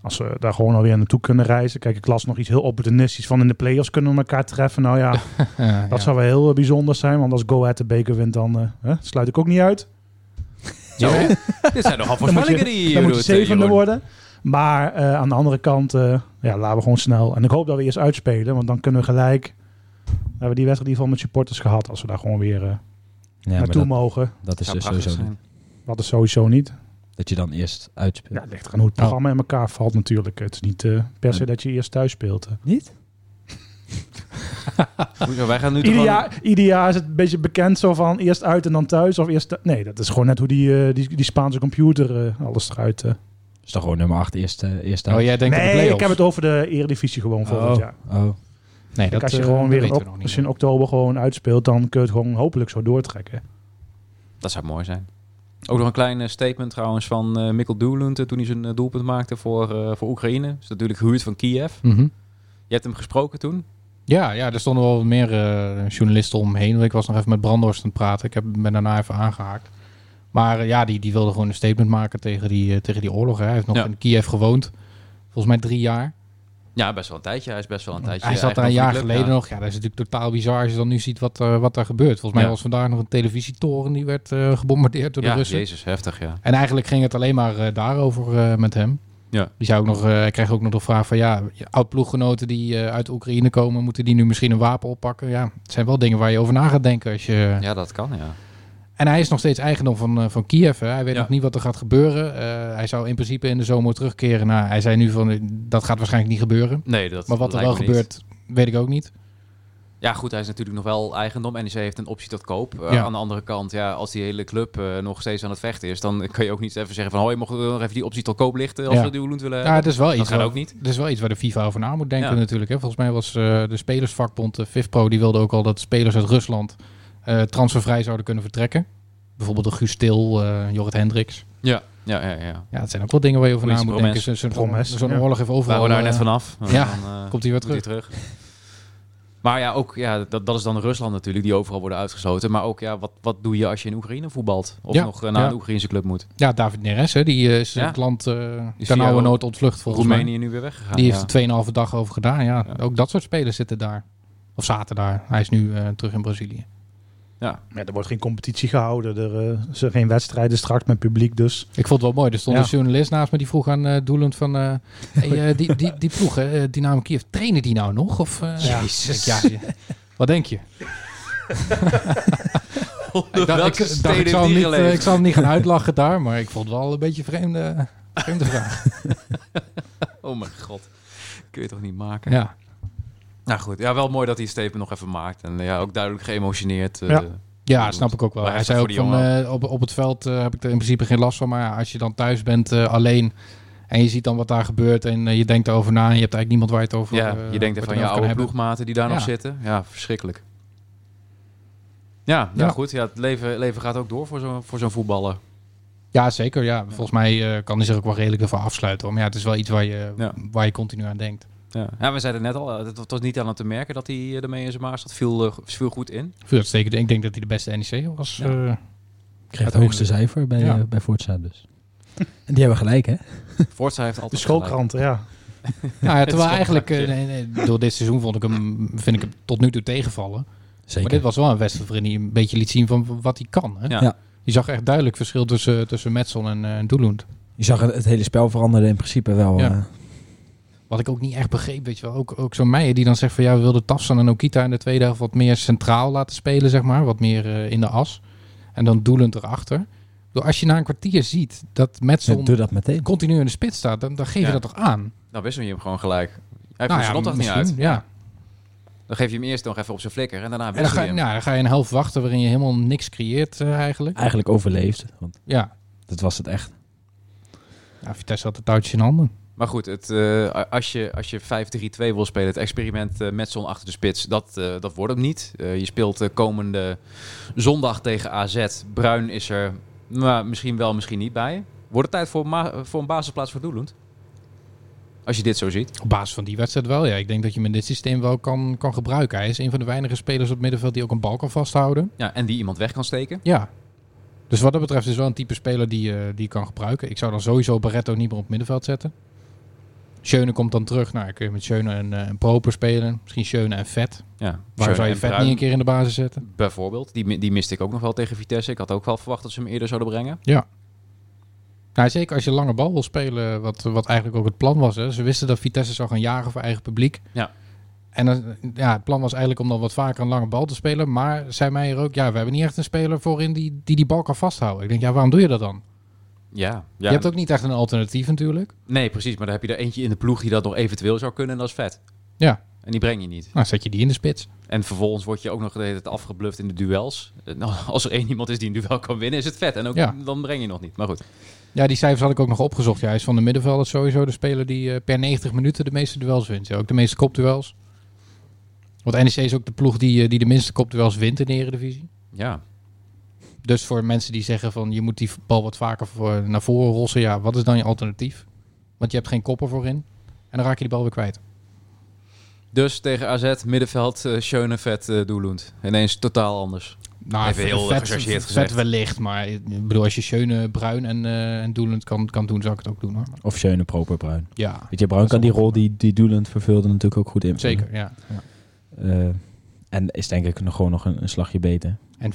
[SPEAKER 4] als we daar gewoon alweer naartoe kunnen reizen. Kijk, ik las nog iets heel opportunistisch van in de play-offs kunnen we elkaar treffen. Nou ja,
[SPEAKER 3] Ja, ja.
[SPEAKER 4] dat zou wel heel eh, bijzonder zijn, want als Go Ahead de beker wint, dan eh, hè, sluit ik ook niet uit.
[SPEAKER 2] Zo, dit zijn nogal
[SPEAKER 4] Dan moet je-
[SPEAKER 2] voorspellingen die je hier
[SPEAKER 4] dan moet
[SPEAKER 2] doet,
[SPEAKER 4] je
[SPEAKER 2] eh,
[SPEAKER 4] zevende
[SPEAKER 2] Jeroen.
[SPEAKER 4] worden. Maar eh, aan de andere kant, eh, ja, laten we gewoon snel. En ik hoop dat we eerst uitspelen, want dan kunnen we gelijk. Dan hebben we die wedstrijd in ieder geval met supporters gehad. Als we daar gewoon weer eh,
[SPEAKER 5] Ja, maar
[SPEAKER 4] naartoe
[SPEAKER 5] dat,
[SPEAKER 4] mogen.
[SPEAKER 5] dat is
[SPEAKER 2] Zou prachtig
[SPEAKER 5] dus sowieso
[SPEAKER 2] zijn.
[SPEAKER 5] niet.
[SPEAKER 4] Wat is sowieso niet.
[SPEAKER 5] Dat je dan eerst uitspeelt.
[SPEAKER 4] Ja, het ligt eraan hoe het
[SPEAKER 3] Oh.
[SPEAKER 4] programma in elkaar valt natuurlijk. Het is niet eh, per se
[SPEAKER 5] Nou. Nee.
[SPEAKER 4] dat je eerst thuis speelt. eh.
[SPEAKER 5] Niet?
[SPEAKER 2] Hoezo, wij gaan nu toch
[SPEAKER 4] Ieder
[SPEAKER 2] gewoon-
[SPEAKER 4] jaar, ieder jaar is het een beetje bekend zo van eerst uit en dan thuis. Of eerst thu- nee, dat is gewoon net hoe die, eh, die, die Spaanse computer eh, alles eruit. eh.
[SPEAKER 5] Is toch gewoon nummer 8 eerst, eh, eerst
[SPEAKER 3] Oh,
[SPEAKER 5] uit?
[SPEAKER 3] jij denkt aan de
[SPEAKER 4] Nee,
[SPEAKER 3] play-offs.
[SPEAKER 4] ik heb het over de eredivisie gewoon volgend jaar.
[SPEAKER 5] Oh.
[SPEAKER 3] Nee,
[SPEAKER 4] Kijk,
[SPEAKER 3] dat,
[SPEAKER 4] als je
[SPEAKER 3] eh,
[SPEAKER 4] gewoon
[SPEAKER 3] dat
[SPEAKER 4] weer in,
[SPEAKER 3] weten we
[SPEAKER 4] ok-
[SPEAKER 3] nog
[SPEAKER 4] als
[SPEAKER 3] niet.
[SPEAKER 4] je in oktober gewoon uitspeelt, dan kun je het gewoon hopelijk zo doortrekken.
[SPEAKER 2] Dat zou mooi zijn. Ook nog een klein eh, statement trouwens van eh Mikkel Doelund eh, toen hij zijn eh, doelpunt maakte voor, eh, voor Oekraïne. Is natuurlijk gehuurd van Kiev. Je hebt hem gesproken toen.
[SPEAKER 3] Mhm. Ja, ja, er stonden wel wat meer eh, journalisten omheen. Want ik was nog even met Brandhorst aan het praten. Ik heb, ben daarna even aangehaakt. Maar eh, ja, die, die wilde gewoon een statement maken tegen die, eh, tegen die oorlog. Hè. Hij heeft nog
[SPEAKER 2] Ja.
[SPEAKER 3] in Kiev gewoond. Volgens mij drie jaar.
[SPEAKER 2] Ja, best wel een tijdje. Hij is best wel een tijdje.
[SPEAKER 3] hij zat daar een
[SPEAKER 2] eigendom
[SPEAKER 3] jaar
[SPEAKER 2] van de club,
[SPEAKER 3] geleden
[SPEAKER 2] ja.
[SPEAKER 3] nog. Ja, dat is natuurlijk totaal bizar als je dan nu ziet wat, eh, wat daar gebeurt. Volgens mij
[SPEAKER 2] Ja.
[SPEAKER 3] was vandaag nog een televisietoren die werd eh, gebombardeerd door de
[SPEAKER 2] ja,
[SPEAKER 3] Russen.
[SPEAKER 2] jezus, heftig, ja.
[SPEAKER 3] En eigenlijk ging het alleen maar eh, daarover eh, met hem.
[SPEAKER 2] Ja.
[SPEAKER 3] Die zei ook nog, eh, hij kreeg ook nog de vraag van ja, oud-ploeggenoten die eh, uit Oekraïne komen, moeten die nu misschien een wapen oppakken? Ja, het zijn wel dingen waar je over na gaat denken als je.
[SPEAKER 2] Ja, dat kan, ja.
[SPEAKER 3] En hij is nog steeds eigendom van, eh, van Kiev. Hè? Hij weet
[SPEAKER 2] Ja.
[SPEAKER 3] nog niet wat er gaat gebeuren. Eh, hij zou in principe in de zomer terugkeren. Nou, hij zei nu van eh, dat gaat waarschijnlijk niet gebeuren.
[SPEAKER 2] Nee, dat
[SPEAKER 3] Maar wat er
[SPEAKER 2] lijkt
[SPEAKER 3] wel
[SPEAKER 2] me niet.
[SPEAKER 3] gebeurt, weet ik ook niet.
[SPEAKER 2] Ja, goed, hij is natuurlijk nog wel eigendom. NEC heeft een optie tot koop. Eh,
[SPEAKER 3] Ja.
[SPEAKER 2] Aan de andere kant, ja, als die hele club eh, nog steeds aan het vechten is, dan kan je ook niet even zeggen van, hoi, mogen we nog even die optie tot koop lichten als
[SPEAKER 3] Ja.
[SPEAKER 2] we Doelund willen
[SPEAKER 3] ja, het is wel
[SPEAKER 2] Eh, Dat
[SPEAKER 3] iets.
[SPEAKER 2] gaat
[SPEAKER 3] waar-
[SPEAKER 2] ook niet.
[SPEAKER 3] Het is wel iets waar de FIFA over na moet denken
[SPEAKER 2] Ja.
[SPEAKER 3] natuurlijk. Hè. Volgens mij was eh, de spelersvakbond, de FIFPro, die wilde ook al dat spelers uit Rusland eh, transfervrij zouden kunnen vertrekken. Bijvoorbeeld de Guus Til, eh, Jorrit Hendricks.
[SPEAKER 2] Ja, ja, ja. ja.
[SPEAKER 3] Ja, het zijn ook wel dingen waar je over na
[SPEAKER 2] Goeie
[SPEAKER 3] moet
[SPEAKER 2] promes.
[SPEAKER 3] denken. Zo- Zo'n
[SPEAKER 4] Promes,
[SPEAKER 3] zo'n
[SPEAKER 4] ja.
[SPEAKER 3] oorlog heeft
[SPEAKER 2] Waren
[SPEAKER 3] overal...
[SPEAKER 2] we daar
[SPEAKER 3] eh,
[SPEAKER 2] net vanaf.
[SPEAKER 3] ja,
[SPEAKER 2] eh,
[SPEAKER 3] komt hij weer
[SPEAKER 2] moet hij terug. Maar ja, ook, ja dat, dat is dan Rusland natuurlijk, die overal worden uitgesloten. Maar ook, ja, wat, wat doe je als je in Oekraïne voetbalt? Of
[SPEAKER 3] Ja,
[SPEAKER 2] nog eh, naar
[SPEAKER 3] ja.
[SPEAKER 2] een Oekraïnse club moet?
[SPEAKER 3] Ja, David Neres, hè, die eh, is
[SPEAKER 2] Ja.
[SPEAKER 3] het land eh
[SPEAKER 2] Is
[SPEAKER 3] ter
[SPEAKER 2] die
[SPEAKER 3] nauwe
[SPEAKER 2] al-
[SPEAKER 3] nood ontvlucht volgens mij.
[SPEAKER 2] Roemenië nu weer weggegaan.
[SPEAKER 3] Die
[SPEAKER 2] ja.
[SPEAKER 3] heeft er 2,5 dag over gedaan. Ja,
[SPEAKER 2] Ja.
[SPEAKER 3] ook dat soort spelers zitten daar. Of zaten daar. Hij is nu eh, terug in Brazilië.
[SPEAKER 4] Ja, er wordt geen competitie gehouden. Er eh, zijn geen wedstrijden straks met publiek dus.
[SPEAKER 3] Ik vond het wel mooi. Er stond
[SPEAKER 4] Ja.
[SPEAKER 3] een journalist naast me die vroeg aan eh Doelend van... eh, hey, eh, die, die, die ploeg, eh, Dynamo Kiev, trainen die nou nog? Of, eh,
[SPEAKER 4] Ja.
[SPEAKER 3] ik, ja, je- wat denk je? Ik dacht, ik,
[SPEAKER 2] Welke
[SPEAKER 3] dacht,
[SPEAKER 2] steden
[SPEAKER 3] ik, zal hem
[SPEAKER 2] heeft
[SPEAKER 3] niet,
[SPEAKER 2] die
[SPEAKER 3] eh,
[SPEAKER 2] geleefd?
[SPEAKER 3] ik zal hem niet gaan uitlachen daar, maar ik vond het wel een beetje een vreemde, vreemde vraag.
[SPEAKER 2] Oh mijn god. Kun je toch niet maken?
[SPEAKER 3] Ja.
[SPEAKER 2] Nou goed, ja, wel mooi dat hij Steven nog even maakt. En eh, ja, ook duidelijk geëmotioneerd. eh,
[SPEAKER 4] Ja.
[SPEAKER 3] Ja,
[SPEAKER 2] Dat
[SPEAKER 3] dat snap ik ook wel.
[SPEAKER 2] wel
[SPEAKER 3] Hij
[SPEAKER 2] heftig
[SPEAKER 3] zei ook
[SPEAKER 2] voor die
[SPEAKER 3] van eh, op, op het veld eh, heb ik er in principe geen last van. Maar ja, als je dan thuis bent eh, alleen en je ziet dan wat daar gebeurt en eh, je denkt erover na en je hebt eigenlijk niemand waar je het over
[SPEAKER 2] Ja,
[SPEAKER 3] eh,
[SPEAKER 2] je
[SPEAKER 3] wat
[SPEAKER 2] denkt
[SPEAKER 3] het
[SPEAKER 2] even aan
[SPEAKER 3] over
[SPEAKER 2] je
[SPEAKER 3] kan
[SPEAKER 2] oude
[SPEAKER 3] hebben.
[SPEAKER 2] ploegmaten die daar nog
[SPEAKER 3] Ja.
[SPEAKER 2] zitten. Ja, verschrikkelijk. Ja, nou
[SPEAKER 3] Ja.
[SPEAKER 2] goed. Ja, het leven, leven gaat ook door voor zo'n voor zo'n voetballer.
[SPEAKER 3] Ja, zeker. Ja. Volgens mij eh, kan hij zich ook wel redelijk ervan afsluiten. hoor. Maar ja, het is wel iets waar je,
[SPEAKER 2] Ja.
[SPEAKER 3] waar je continu aan denkt.
[SPEAKER 2] Ja. we zeiden net al, eh, het het was niet aan hem te merken dat hij eh, ermee in zijn maas zat. Viel, eh, viel goed in.
[SPEAKER 3] Ik vind het zeker- Ik denk dat hij de beste NEC was.
[SPEAKER 2] Ja.
[SPEAKER 3] eh,
[SPEAKER 5] Kreeg het hoogste cijfer bij,
[SPEAKER 3] Ja.
[SPEAKER 5] eh, bij Forza dus. En die hebben gelijk, hè?
[SPEAKER 2] Voortza heeft altijd
[SPEAKER 4] De
[SPEAKER 2] gelijk.
[SPEAKER 4] schoolkranten, ja.
[SPEAKER 3] nou, ja,
[SPEAKER 2] is wel
[SPEAKER 3] terwijl eigenlijk eh,
[SPEAKER 2] knap, ja.
[SPEAKER 3] nee, nee, door dit seizoen vond ik hem, vind ik hem tot nu toe tegenvallen. Maar dit
[SPEAKER 5] Zeker.
[SPEAKER 3] was wel een wedstrijd waarin hij een beetje liet zien van wat hij kan. Hè?
[SPEAKER 2] Ja.
[SPEAKER 5] Ja.
[SPEAKER 3] Je zag echt duidelijk verschil tussen, tussen Metson en eh Doelund.
[SPEAKER 5] Je zag het, het hele spel veranderen in principe wel.
[SPEAKER 3] Ja.
[SPEAKER 5] eh.
[SPEAKER 3] Wat ik ook niet echt begreep, weet je wel. Ook, ook zo'n Meijer die dan zegt van ja, we wilden Tafsan en Okita in de tweede helft wat meer centraal laten spelen, zeg maar. Wat meer eh, in de as. En dan doelend erachter. Door als je na een kwartier ziet dat
[SPEAKER 5] Ze
[SPEAKER 3] Metson
[SPEAKER 5] doe dat meteen.
[SPEAKER 3] continu in de spits staat, dan, dan geef
[SPEAKER 2] Ja.
[SPEAKER 3] je dat toch aan?
[SPEAKER 2] Nou, wissel je hem gewoon gelijk. Hij heeft
[SPEAKER 3] nou
[SPEAKER 2] zijn opdracht niet
[SPEAKER 3] misschien,
[SPEAKER 2] uit.
[SPEAKER 3] Ja.
[SPEAKER 2] Dan geef je hem eerst nog even op zijn flikker en daarna
[SPEAKER 3] En dan
[SPEAKER 2] wissel
[SPEAKER 3] ga,
[SPEAKER 2] je
[SPEAKER 3] je-
[SPEAKER 2] hem.
[SPEAKER 3] nou, dan ga je een helft wachten waarin je helemaal niks creëert eh, eigenlijk.
[SPEAKER 5] Eigenlijk overleefd. Want
[SPEAKER 3] Ja.
[SPEAKER 5] dat was het echt.
[SPEAKER 3] ja, Vitesse had het touwtje in handen.
[SPEAKER 2] Maar goed, het, eh, als je, als je 5-3-2 wil spelen, het experiment eh, met zon achter de spits, dat, eh, dat wordt hem niet. Eh, je speelt eh, komende zondag tegen AZ. Bruin is er nou, misschien wel, misschien niet bij. Wordt het tijd voor, ma- voor een basisplaats voor Doelend? Als je dit zo ziet.
[SPEAKER 3] Op basis van die wedstrijd wel, ja. Ik denk dat je hem in dit systeem wel kan, kan gebruiken. Hij is een van de weinige spelers op het middenveld die ook een bal kan vasthouden.
[SPEAKER 2] Ja, en die iemand weg kan steken.
[SPEAKER 3] Ja. Dus wat dat betreft is wel een type speler die, eh, die je kan gebruiken. Ik zou dan sowieso Barretto niet meer op het middenveld zetten. Schöne komt dan terug. Nou, dan kun je met Schöne en, eh, en Proper spelen. Misschien Schöne en Vet.
[SPEAKER 2] Ja,
[SPEAKER 3] Waarom zou je
[SPEAKER 2] en
[SPEAKER 3] Vet
[SPEAKER 2] Bruin
[SPEAKER 3] niet een keer in de basis zetten?
[SPEAKER 2] Bijvoorbeeld, die, mi- die miste ik ook nog wel tegen Vitesse. Ik had ook wel verwacht dat ze hem eerder zouden brengen.
[SPEAKER 3] Nou, zeker als je lange bal wil spelen, wat, wat eigenlijk ook het plan was. Hè. Ze wisten dat Vitesse zou gaan jagen voor eigen publiek.
[SPEAKER 2] Ja.
[SPEAKER 3] En dan, ja, het plan was eigenlijk om dan wat vaker een lange bal te spelen. Maar zei mij er ook, ja, we hebben niet echt een speler voorin die die, die bal kan vasthouden. Ik denk, ja, waarom doe je dat dan?
[SPEAKER 2] Ja, ja.
[SPEAKER 3] Je hebt ook niet echt een alternatief natuurlijk.
[SPEAKER 2] Nee, precies. Maar dan heb je er eentje in de ploeg die dat nog eventueel zou kunnen. En dat is vet.
[SPEAKER 3] Ja.
[SPEAKER 2] En die breng je niet.
[SPEAKER 3] Nou, zet je die in de spits.
[SPEAKER 2] En vervolgens word je ook nog de hele tijd afgebluft in de duels. Eh, Nou, als er één iemand is die een duel kan winnen, is het vet. En ook
[SPEAKER 3] Ja.
[SPEAKER 2] dan breng je nog niet. Maar goed.
[SPEAKER 3] Ja, die cijfers had ik ook nog opgezocht. Ja, hij is van de middenvelder sowieso de speler die eh, per 90 minuten de meeste duels wint. Ja, ook de meeste kopduels. E Want NEC is ook de ploeg die, eh, die de minste kopduels wint in de Eredivisie.
[SPEAKER 2] Ja.
[SPEAKER 3] Dus voor mensen die zeggen van je moet die bal wat vaker voor, naar voren rossen. Ja, wat is dan je alternatief? Want je hebt geen koppen voorin. En dan raak je die bal weer kwijt.
[SPEAKER 2] Dus tegen AZ, middenveld, eh Schönevet, eh Doelund. Ineens totaal anders.
[SPEAKER 3] Nou,
[SPEAKER 2] Even heel, eh, gechargeerd
[SPEAKER 3] vet
[SPEAKER 2] gezegd.
[SPEAKER 3] wellicht. Maar eh, ik bedoel, als je Schöne, Bruin en, eh en Doelend kan, kan doen, zou ik het ook doen hoor.
[SPEAKER 5] Of Schöne, Proper, Bruin.
[SPEAKER 3] Ja,
[SPEAKER 5] Weet je, Bruin
[SPEAKER 3] Dat is
[SPEAKER 5] kan die rol
[SPEAKER 3] allemaal
[SPEAKER 5] die, die Doelend vervulde natuurlijk ook goed in. Eh,
[SPEAKER 3] zeker. Ja.
[SPEAKER 5] en is denk ik nog gewoon nog een, een slagje beter.
[SPEAKER 3] En 5-2-3,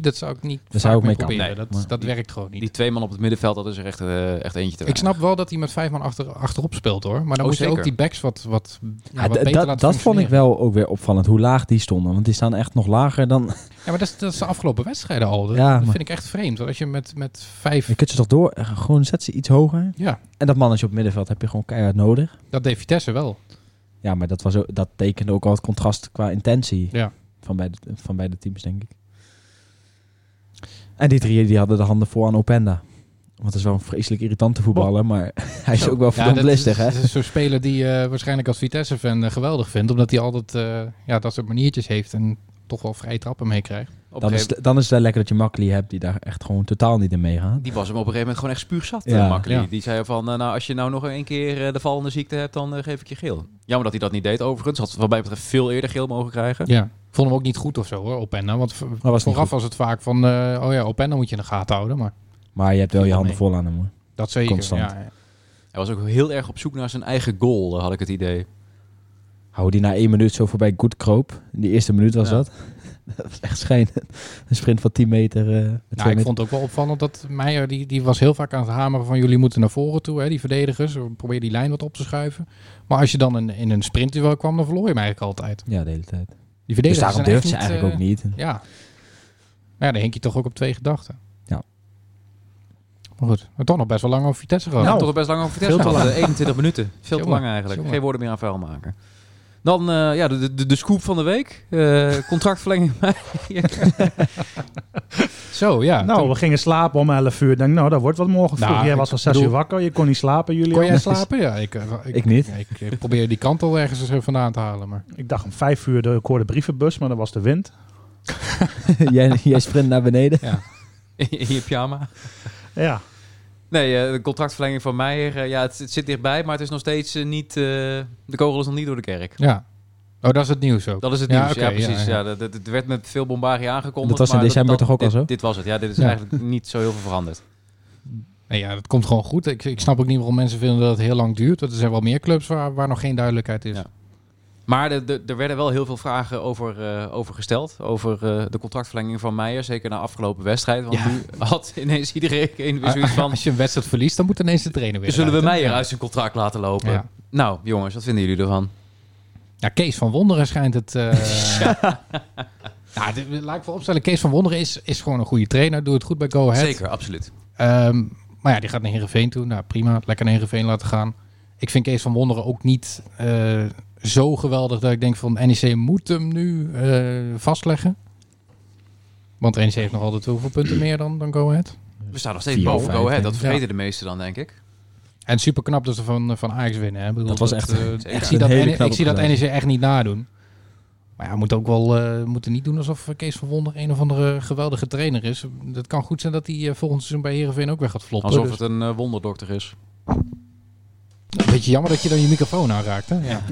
[SPEAKER 3] dat zou ik niet
[SPEAKER 5] Daar
[SPEAKER 3] vaak
[SPEAKER 5] zou ik
[SPEAKER 3] proberen.
[SPEAKER 5] mee
[SPEAKER 2] kappen.
[SPEAKER 3] dat,
[SPEAKER 5] Nee, maar-
[SPEAKER 3] dat werkt gewoon niet.
[SPEAKER 2] Die twee man op het middenveld, dat is er echt, eh, echt eentje te
[SPEAKER 3] Ik
[SPEAKER 2] weinig.
[SPEAKER 3] snap wel dat hij met vijf man achter, achterop speelt hoor. Maar dan
[SPEAKER 2] Oh,
[SPEAKER 3] moet je
[SPEAKER 2] zeker.
[SPEAKER 3] ook die backs wat, wat, ja,
[SPEAKER 5] Ja,
[SPEAKER 3] wat
[SPEAKER 5] d-
[SPEAKER 3] beter
[SPEAKER 5] Ah,
[SPEAKER 3] laten
[SPEAKER 5] dat dat vond ik
[SPEAKER 3] functioneren.
[SPEAKER 5] wel ook weer opvallend, hoe laag die stonden. Want die staan echt nog lager dan...
[SPEAKER 3] Ja, maar dat is, dat is de afgelopen wedstrijden al. Dat,
[SPEAKER 5] Ja,
[SPEAKER 3] dat
[SPEAKER 5] maar-
[SPEAKER 3] vind ik echt vreemd. Want als je met, met vijf...
[SPEAKER 5] Je kunt ze toch door... Gewoon zet ze iets hoger.
[SPEAKER 3] Ja,
[SPEAKER 5] En dat mannetje op middenveld heb je gewoon keihard nodig.
[SPEAKER 3] dat deed Vitesse wel.
[SPEAKER 5] Ja, maar dat, was ook, dat tekende ook al het contrast qua intentie
[SPEAKER 3] Ja.
[SPEAKER 5] van, beide, van beide teams, denk ik. En die drieën die hadden de handen voor aan Openda. Want dat is wel een vreselijk irritante voetballer, maar hij is ook wel
[SPEAKER 3] Oh. Ja,
[SPEAKER 5] verdomd
[SPEAKER 3] dat
[SPEAKER 5] listig,
[SPEAKER 3] is-
[SPEAKER 5] hè?
[SPEAKER 3] Dat is zo'n speler die eh, waarschijnlijk als Vitesse-fan eh, geweldig vindt. Omdat hij altijd eh, ja, dat soort maniertjes heeft en toch wel vrije trappen meekrijgt.
[SPEAKER 2] Op een
[SPEAKER 5] Dan is,
[SPEAKER 2] gegeven-
[SPEAKER 5] het- dan is het wel lekker dat je Makkeli hebt die daar echt gewoon totaal niet in meegaat.
[SPEAKER 2] Die was hem op een gegeven moment gewoon echt spuugzat,
[SPEAKER 5] Ja.
[SPEAKER 2] ja,
[SPEAKER 3] Ja.
[SPEAKER 2] Die zei van, eh, nou, als je nou nog een keer eh, de vallende ziekte hebt, dan eh, geef ik je geel. Jammer dat hij dat niet deed, overigens. Had wat mij betreft veel eerder geel mogen krijgen.
[SPEAKER 3] Ja. Ik vond hem ook niet goed of zo hoor, Openda. Want v-
[SPEAKER 5] was niet
[SPEAKER 3] vooraf
[SPEAKER 5] goed.
[SPEAKER 3] was het vaak van, eh, oh ja, Openda moet je in de gaten houden. Maar
[SPEAKER 5] Maar je hebt wel je
[SPEAKER 3] Viel
[SPEAKER 5] handen
[SPEAKER 3] mee.
[SPEAKER 5] vol aan hem, hoor.
[SPEAKER 3] dat zeker.
[SPEAKER 5] Constant.
[SPEAKER 3] Ja, ja.
[SPEAKER 2] Hij was ook heel erg op zoek naar zijn eigen goal, eh, had ik het idee.
[SPEAKER 5] Hou die na één minuut zo voorbij goed kroop. In die eerste minuut was
[SPEAKER 2] Ja.
[SPEAKER 5] dat. dat was echt schijn. Een sprint van 10 meter. eh, met twee
[SPEAKER 3] Nou, ik
[SPEAKER 5] meter.
[SPEAKER 3] vond het ook wel opvallend dat Meijer, die, die was heel vaak aan het hameren van jullie moeten naar voren toe, hè, die verdedigers. Probeer die lijn wat op te schuiven. Maar als je dan in, in een sprintduel kwam, dan verloor je hem eigenlijk altijd.
[SPEAKER 5] Ja, de hele tijd.
[SPEAKER 3] Die
[SPEAKER 5] Dus
[SPEAKER 3] verdedigers
[SPEAKER 5] daarom
[SPEAKER 3] zijn echt
[SPEAKER 5] durft ze eigenlijk ook
[SPEAKER 3] eh,
[SPEAKER 5] niet.
[SPEAKER 3] Ja. Maar ja, dan hink je toch ook op twee gedachten.
[SPEAKER 5] Ja.
[SPEAKER 3] Maar goed, maar toch nog best wel lang over Vitesse gehad.
[SPEAKER 2] Nou,
[SPEAKER 4] Nou,
[SPEAKER 2] toch best lang over
[SPEAKER 4] veel
[SPEAKER 2] Vitesse
[SPEAKER 4] te
[SPEAKER 2] gehad.
[SPEAKER 4] lang.
[SPEAKER 2] 21 minuten. Veel te
[SPEAKER 3] Jongen,
[SPEAKER 2] lang eigenlijk.
[SPEAKER 3] jongen.
[SPEAKER 2] Geen woorden meer aan vuil maken. Dan eh, ja, de, de, de scoop van de week. Eh, contractverlenging.
[SPEAKER 3] Zo, ja.
[SPEAKER 4] Nou, we gingen slapen om 11 uur. Ik Denk, nou, dat wordt wat morgen vroeg.
[SPEAKER 3] Nou,
[SPEAKER 4] jij
[SPEAKER 3] ik
[SPEAKER 4] was al 6 uur
[SPEAKER 3] bedoel-
[SPEAKER 4] wakker. Je kon niet slapen, jullie.
[SPEAKER 3] Toen- kon
[SPEAKER 4] ook.
[SPEAKER 3] jij slapen? Ja, ik, eh, ik,
[SPEAKER 5] Ik niet.
[SPEAKER 3] Ik, eh, probeer die kant al ergens eens vandaan te halen. Maar
[SPEAKER 4] Ik dacht om 5 uur, de- ik hoorde brievenbus, maar dat was de wind.
[SPEAKER 5] jij, jij sprint naar beneden.
[SPEAKER 2] in, in je pyjama.
[SPEAKER 4] Ja,
[SPEAKER 2] Nee, eh, de contractverlenging van Meijer. eh, ja, het, het zit dichtbij, maar het is nog steeds eh, niet... eh, de kogel is nog niet door de kerk.
[SPEAKER 3] ja. Oh, dat is het nieuws ook.
[SPEAKER 2] Dat is het
[SPEAKER 3] Ja,
[SPEAKER 2] nieuws.
[SPEAKER 3] oké,
[SPEAKER 2] ja,
[SPEAKER 3] ja,
[SPEAKER 2] precies.
[SPEAKER 3] ja.
[SPEAKER 2] Ja, dat, dat- het werd met veel bombarie aangekondigd.
[SPEAKER 5] Dat was in
[SPEAKER 2] maar
[SPEAKER 5] december toch ook al
[SPEAKER 2] dit-
[SPEAKER 5] zo?
[SPEAKER 2] Dit was het. Ja, dit is
[SPEAKER 3] Ja.
[SPEAKER 2] eigenlijk niet zo heel veel veranderd.
[SPEAKER 3] Nee, ja, dat komt gewoon goed. Ik, ik snap ook niet waarom mensen vinden dat het heel lang duurt. Want er zijn wel meer clubs waar, waar nog geen duidelijkheid is.
[SPEAKER 2] Ja. Maar de, de- er werden wel heel veel vragen over, eh, over gesteld. Over eh, de contractverlenging van Meijer. Zeker na afgelopen wedstrijd. Want
[SPEAKER 3] Ja.
[SPEAKER 2] nu had ineens iedereen weer
[SPEAKER 3] Ah,
[SPEAKER 2] zoiets van...
[SPEAKER 3] Als je een wedstrijd verliest, dan moet ineens de trainer weer.
[SPEAKER 2] Zullen we
[SPEAKER 3] eruit, hè?
[SPEAKER 2] Meijer
[SPEAKER 3] Ja.
[SPEAKER 2] uit zijn contract laten lopen?
[SPEAKER 3] Ja.
[SPEAKER 2] Nou, jongens, wat vinden jullie ervan?
[SPEAKER 3] Ja, Kees van Wonderen schijnt het. eh, ja. dit- laat ik vooropstellen, Kees van Wonderen is, is gewoon een goede trainer. Doet het goed bij Go Ahead.
[SPEAKER 2] Zeker, absoluut.
[SPEAKER 3] Ehm, maar ja, die gaat naar Heerenveen toe. Nou, prima. Lekker naar Heerenveen laten gaan. Ik vind Kees van Wonderen ook niet eh, zo geweldig dat ik denk van NEC moet hem nu eh, vastleggen. Want NEC heeft nog altijd hoeveel punten meer dan, dan Go Ahead.
[SPEAKER 2] We staan nog steeds
[SPEAKER 5] Vier of
[SPEAKER 2] boven
[SPEAKER 5] vijf,
[SPEAKER 2] Go Ahead.
[SPEAKER 5] denk
[SPEAKER 2] Dat
[SPEAKER 5] ik.
[SPEAKER 2] vergeten de meesten dan, denk ik.
[SPEAKER 3] En super knap dat ze van, van Ajax winnen. Hè? Ik bedoel,
[SPEAKER 5] Dat was echt-
[SPEAKER 3] eh,
[SPEAKER 2] zeker.
[SPEAKER 3] ik zie
[SPEAKER 5] Een
[SPEAKER 3] dat,
[SPEAKER 5] hele
[SPEAKER 3] N- ik
[SPEAKER 5] knappe
[SPEAKER 3] zie dat NEC
[SPEAKER 5] prestatie.
[SPEAKER 3] echt niet nadoen. Maar ja, we moeten ook wel eh, we moeten niet doen alsof Kees van Wonder een of andere geweldige trainer is. Het kan goed zijn dat hij eh, volgend seizoen bij Heerenveen ook weer gaat floppen.
[SPEAKER 2] Alsof
[SPEAKER 3] Dus
[SPEAKER 2] het een eh, wonderdokter is.
[SPEAKER 5] Dus
[SPEAKER 3] een beetje jammer dat je dan je microfoon aanraakt. Hè? Ja.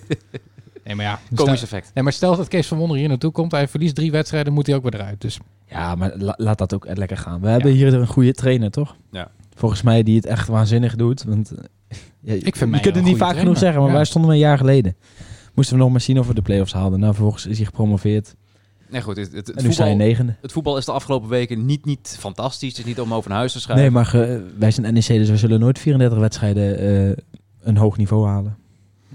[SPEAKER 3] nee, maar ja.
[SPEAKER 2] Komisch
[SPEAKER 3] Stel,
[SPEAKER 2] effect.
[SPEAKER 3] nee, maar stel dat Kees van Wonder hier naartoe komt. Hij verliest drie wedstrijden, moet hij ook weer eruit. Dus
[SPEAKER 5] Ja, maar la- laat dat ook lekker gaan. We hebben hier een goede trainer, toch?
[SPEAKER 2] Ja.
[SPEAKER 5] Volgens mij die het echt waanzinnig doet. Want, eh, ja,
[SPEAKER 3] vind
[SPEAKER 5] je
[SPEAKER 3] mij een
[SPEAKER 5] kunt het niet
[SPEAKER 3] goede
[SPEAKER 5] vaak
[SPEAKER 3] trainer.
[SPEAKER 5] genoeg zeggen, maar
[SPEAKER 3] Ja.
[SPEAKER 5] wij stonden we een jaar geleden. Moesten we nog maar zien of we de play-offs haalden. Nou, vervolgens is hij gepromoveerd.
[SPEAKER 2] Nee, goed. Het, het, het
[SPEAKER 5] en nu sta je
[SPEAKER 2] voetbal,
[SPEAKER 5] negende.
[SPEAKER 2] het voetbal is de afgelopen weken niet, niet fantastisch. Het is niet om over naar huis te schrijven.
[SPEAKER 5] Nee, maar ge- wij zijn NEC, dus we zullen nooit 34 wedstrijden eh, een hoog niveau halen.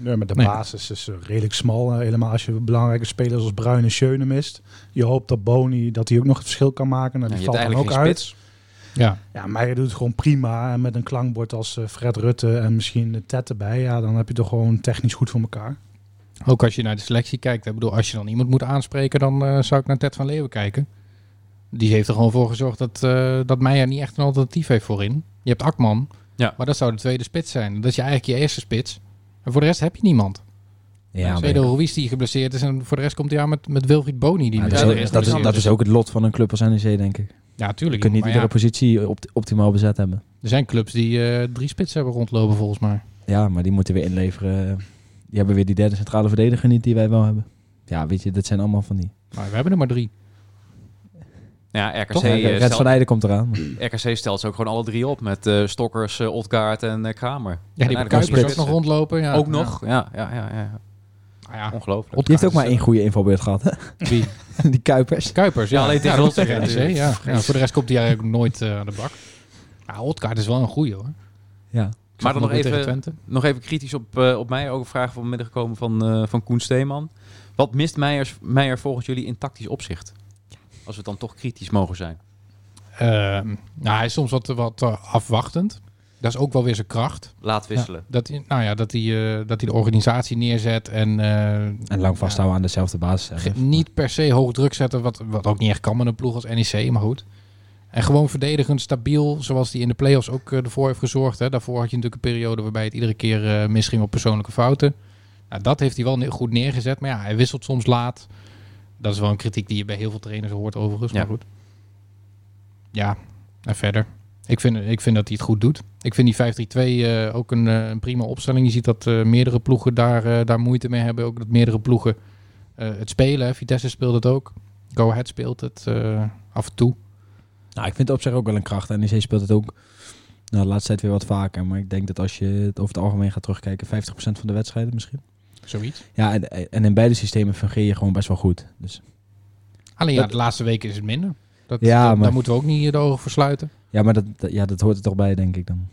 [SPEAKER 4] Ja, maar de
[SPEAKER 3] Nee.
[SPEAKER 4] basis is eh, redelijk smal. eh, helemaal als je belangrijke spelers als Bruin en Schöne mist. Je hoopt dat Boni dat hij ook nog het verschil kan maken. Nou,
[SPEAKER 2] Ja,
[SPEAKER 4] die
[SPEAKER 2] je hebt
[SPEAKER 4] valt dan ook
[SPEAKER 2] eigenlijk geen
[SPEAKER 4] uit.
[SPEAKER 2] spits.
[SPEAKER 3] ja,
[SPEAKER 4] Ja, maar je doet het gewoon prima. En met een klankbord als eh, Fred Rutte en misschien de Ted erbij. Ja, dan heb je toch gewoon technisch goed voor elkaar.
[SPEAKER 3] ook als je naar de selectie kijkt. Ik bedoel, als je dan iemand moet aanspreken, dan eh, zou ik naar Ted van Leeuwen kijken. Die heeft er gewoon voor gezorgd dat, eh dat Meijer niet echt een alternatief heeft voorin. Je hebt Akman,
[SPEAKER 2] Ja.
[SPEAKER 3] maar dat zou de tweede spits zijn. Dat is je eigenlijk je eerste spits. En voor de rest heb je niemand.
[SPEAKER 5] Ja, maar-
[SPEAKER 3] Tweede Ruiz die geblesseerd is. En voor de rest komt hij aan met, met Wilfried Boni. Die nu-
[SPEAKER 5] maar dat,
[SPEAKER 2] Ja,
[SPEAKER 5] is
[SPEAKER 2] er
[SPEAKER 5] ook,
[SPEAKER 2] is
[SPEAKER 5] dat, is,
[SPEAKER 2] niks
[SPEAKER 5] dat is ook het lot van een club als NEC, denk ik.
[SPEAKER 3] ja,
[SPEAKER 5] Je
[SPEAKER 3] tuurlijk.
[SPEAKER 5] kunt niet
[SPEAKER 3] maar
[SPEAKER 5] iedere
[SPEAKER 3] ja,
[SPEAKER 5] positie opt- optimaal bezet hebben.
[SPEAKER 3] er zijn clubs die eh, drie spitsen hebben rondlopen volgens mij.
[SPEAKER 5] Ja, maar die moeten weer inleveren. Die hebben weer die derde centrale verdediger niet die wij wel hebben. Ja, weet je, dat zijn allemaal van die.
[SPEAKER 3] Maar we hebben er maar drie.
[SPEAKER 2] Ja, RKC,
[SPEAKER 5] Toch? Ja,
[SPEAKER 2] eh,
[SPEAKER 5] Rens van
[SPEAKER 2] stelt,
[SPEAKER 5] Eijden komt eraan.
[SPEAKER 2] RKC stelt ze ook gewoon alle drie op. Met eh, Stokkers, eh, Otgaard en eh, Kramer.
[SPEAKER 3] Ja,
[SPEAKER 2] En
[SPEAKER 3] die
[SPEAKER 2] eigenlijk
[SPEAKER 3] Kuipers ook
[SPEAKER 2] spitsen.
[SPEAKER 3] nog rondlopen. Ja.
[SPEAKER 2] Ook nog? Oh. Ja, ja, ja. ja.
[SPEAKER 3] Ja, nou ja.
[SPEAKER 2] Ongelooflijk.
[SPEAKER 5] Die heeft ook maar één goede invalbeurt gehad, hè?
[SPEAKER 3] Wie?
[SPEAKER 5] Die Kuipers.
[SPEAKER 3] Kuipers, ja.
[SPEAKER 2] Ja, alleen tegen
[SPEAKER 3] dat
[SPEAKER 2] ons
[SPEAKER 3] tegen
[SPEAKER 2] tegen
[SPEAKER 3] NEC,
[SPEAKER 2] natuurlijk.
[SPEAKER 3] ja. Ja, Voor de rest komt hij eigenlijk nooit eh, aan de bak. Ja, Otkaart is wel een goeie hoor. Ik
[SPEAKER 5] Ja.
[SPEAKER 3] zag
[SPEAKER 2] Maar dan
[SPEAKER 3] hem
[SPEAKER 2] nog
[SPEAKER 3] ook weer tegen
[SPEAKER 2] even,
[SPEAKER 3] Twente.
[SPEAKER 2] nog even kritisch op, eh, op mij. Ook een vraag van midden gekomen van, eh, van Koen Steeman. Wat mist Meijers, Meijer volgens jullie in tactisch opzicht? Als we dan toch kritisch mogen zijn.
[SPEAKER 3] Ehm, nou, hij is soms wat, wat eh, afwachtend. Dat is ook wel weer zijn kracht.
[SPEAKER 2] Laat wisselen.
[SPEAKER 3] Dat hij, nou ja, dat hij, eh, dat hij de organisatie neerzet en eh,
[SPEAKER 5] En lang vasthouden aan dezelfde basis.
[SPEAKER 3] ge-
[SPEAKER 5] hebben.
[SPEAKER 3] niet per se hoog druk zetten, wat, wat ook niet echt kan met een ploeg als NEC, maar goed. En gewoon verdedigend, stabiel, zoals hij in de play-offs ook eh, ervoor heeft gezorgd. Hè. Daarvoor had je natuurlijk een periode waarbij het iedere keer eh, misging op persoonlijke fouten. Nou, dat heeft hij wel ne- goed neergezet, maar ja, hij wisselt soms laat. Dat is wel een kritiek die je bij heel veel trainers hoort overigens,
[SPEAKER 2] Ja.
[SPEAKER 3] maar goed. Ja, en verder. Ik vind, ik vind dat hij het goed doet. Ik vind die 5-3-2 eh, ook een, eh, een prima opstelling. Je ziet dat eh, meerdere ploegen daar, eh, daar moeite mee hebben. Ook dat meerdere ploegen eh, het spelen. hè. Vitesse speelt het ook. Go Ahead speelt het eh, af en toe.
[SPEAKER 5] Nou, ik vind het op zich ook wel een kracht. En NEC speelt het ook nou, de laatste tijd weer wat vaker. Maar ik denk dat als je het over het algemeen gaat terugkijken, 50% van de wedstrijden misschien.
[SPEAKER 3] Zoiets.
[SPEAKER 5] Ja, en, en in beide systemen fungeer je gewoon best wel goed. Dus,
[SPEAKER 3] Alleen ja,
[SPEAKER 5] Dat-
[SPEAKER 3] de laatste weken is het minder. Dat,
[SPEAKER 5] Ja,
[SPEAKER 3] dat-
[SPEAKER 5] maar-
[SPEAKER 3] Daar moeten we ook niet de ogen voor sluiten.
[SPEAKER 5] ja, maar dat, dat- ja, dat hoort er toch bij, denk ik dan.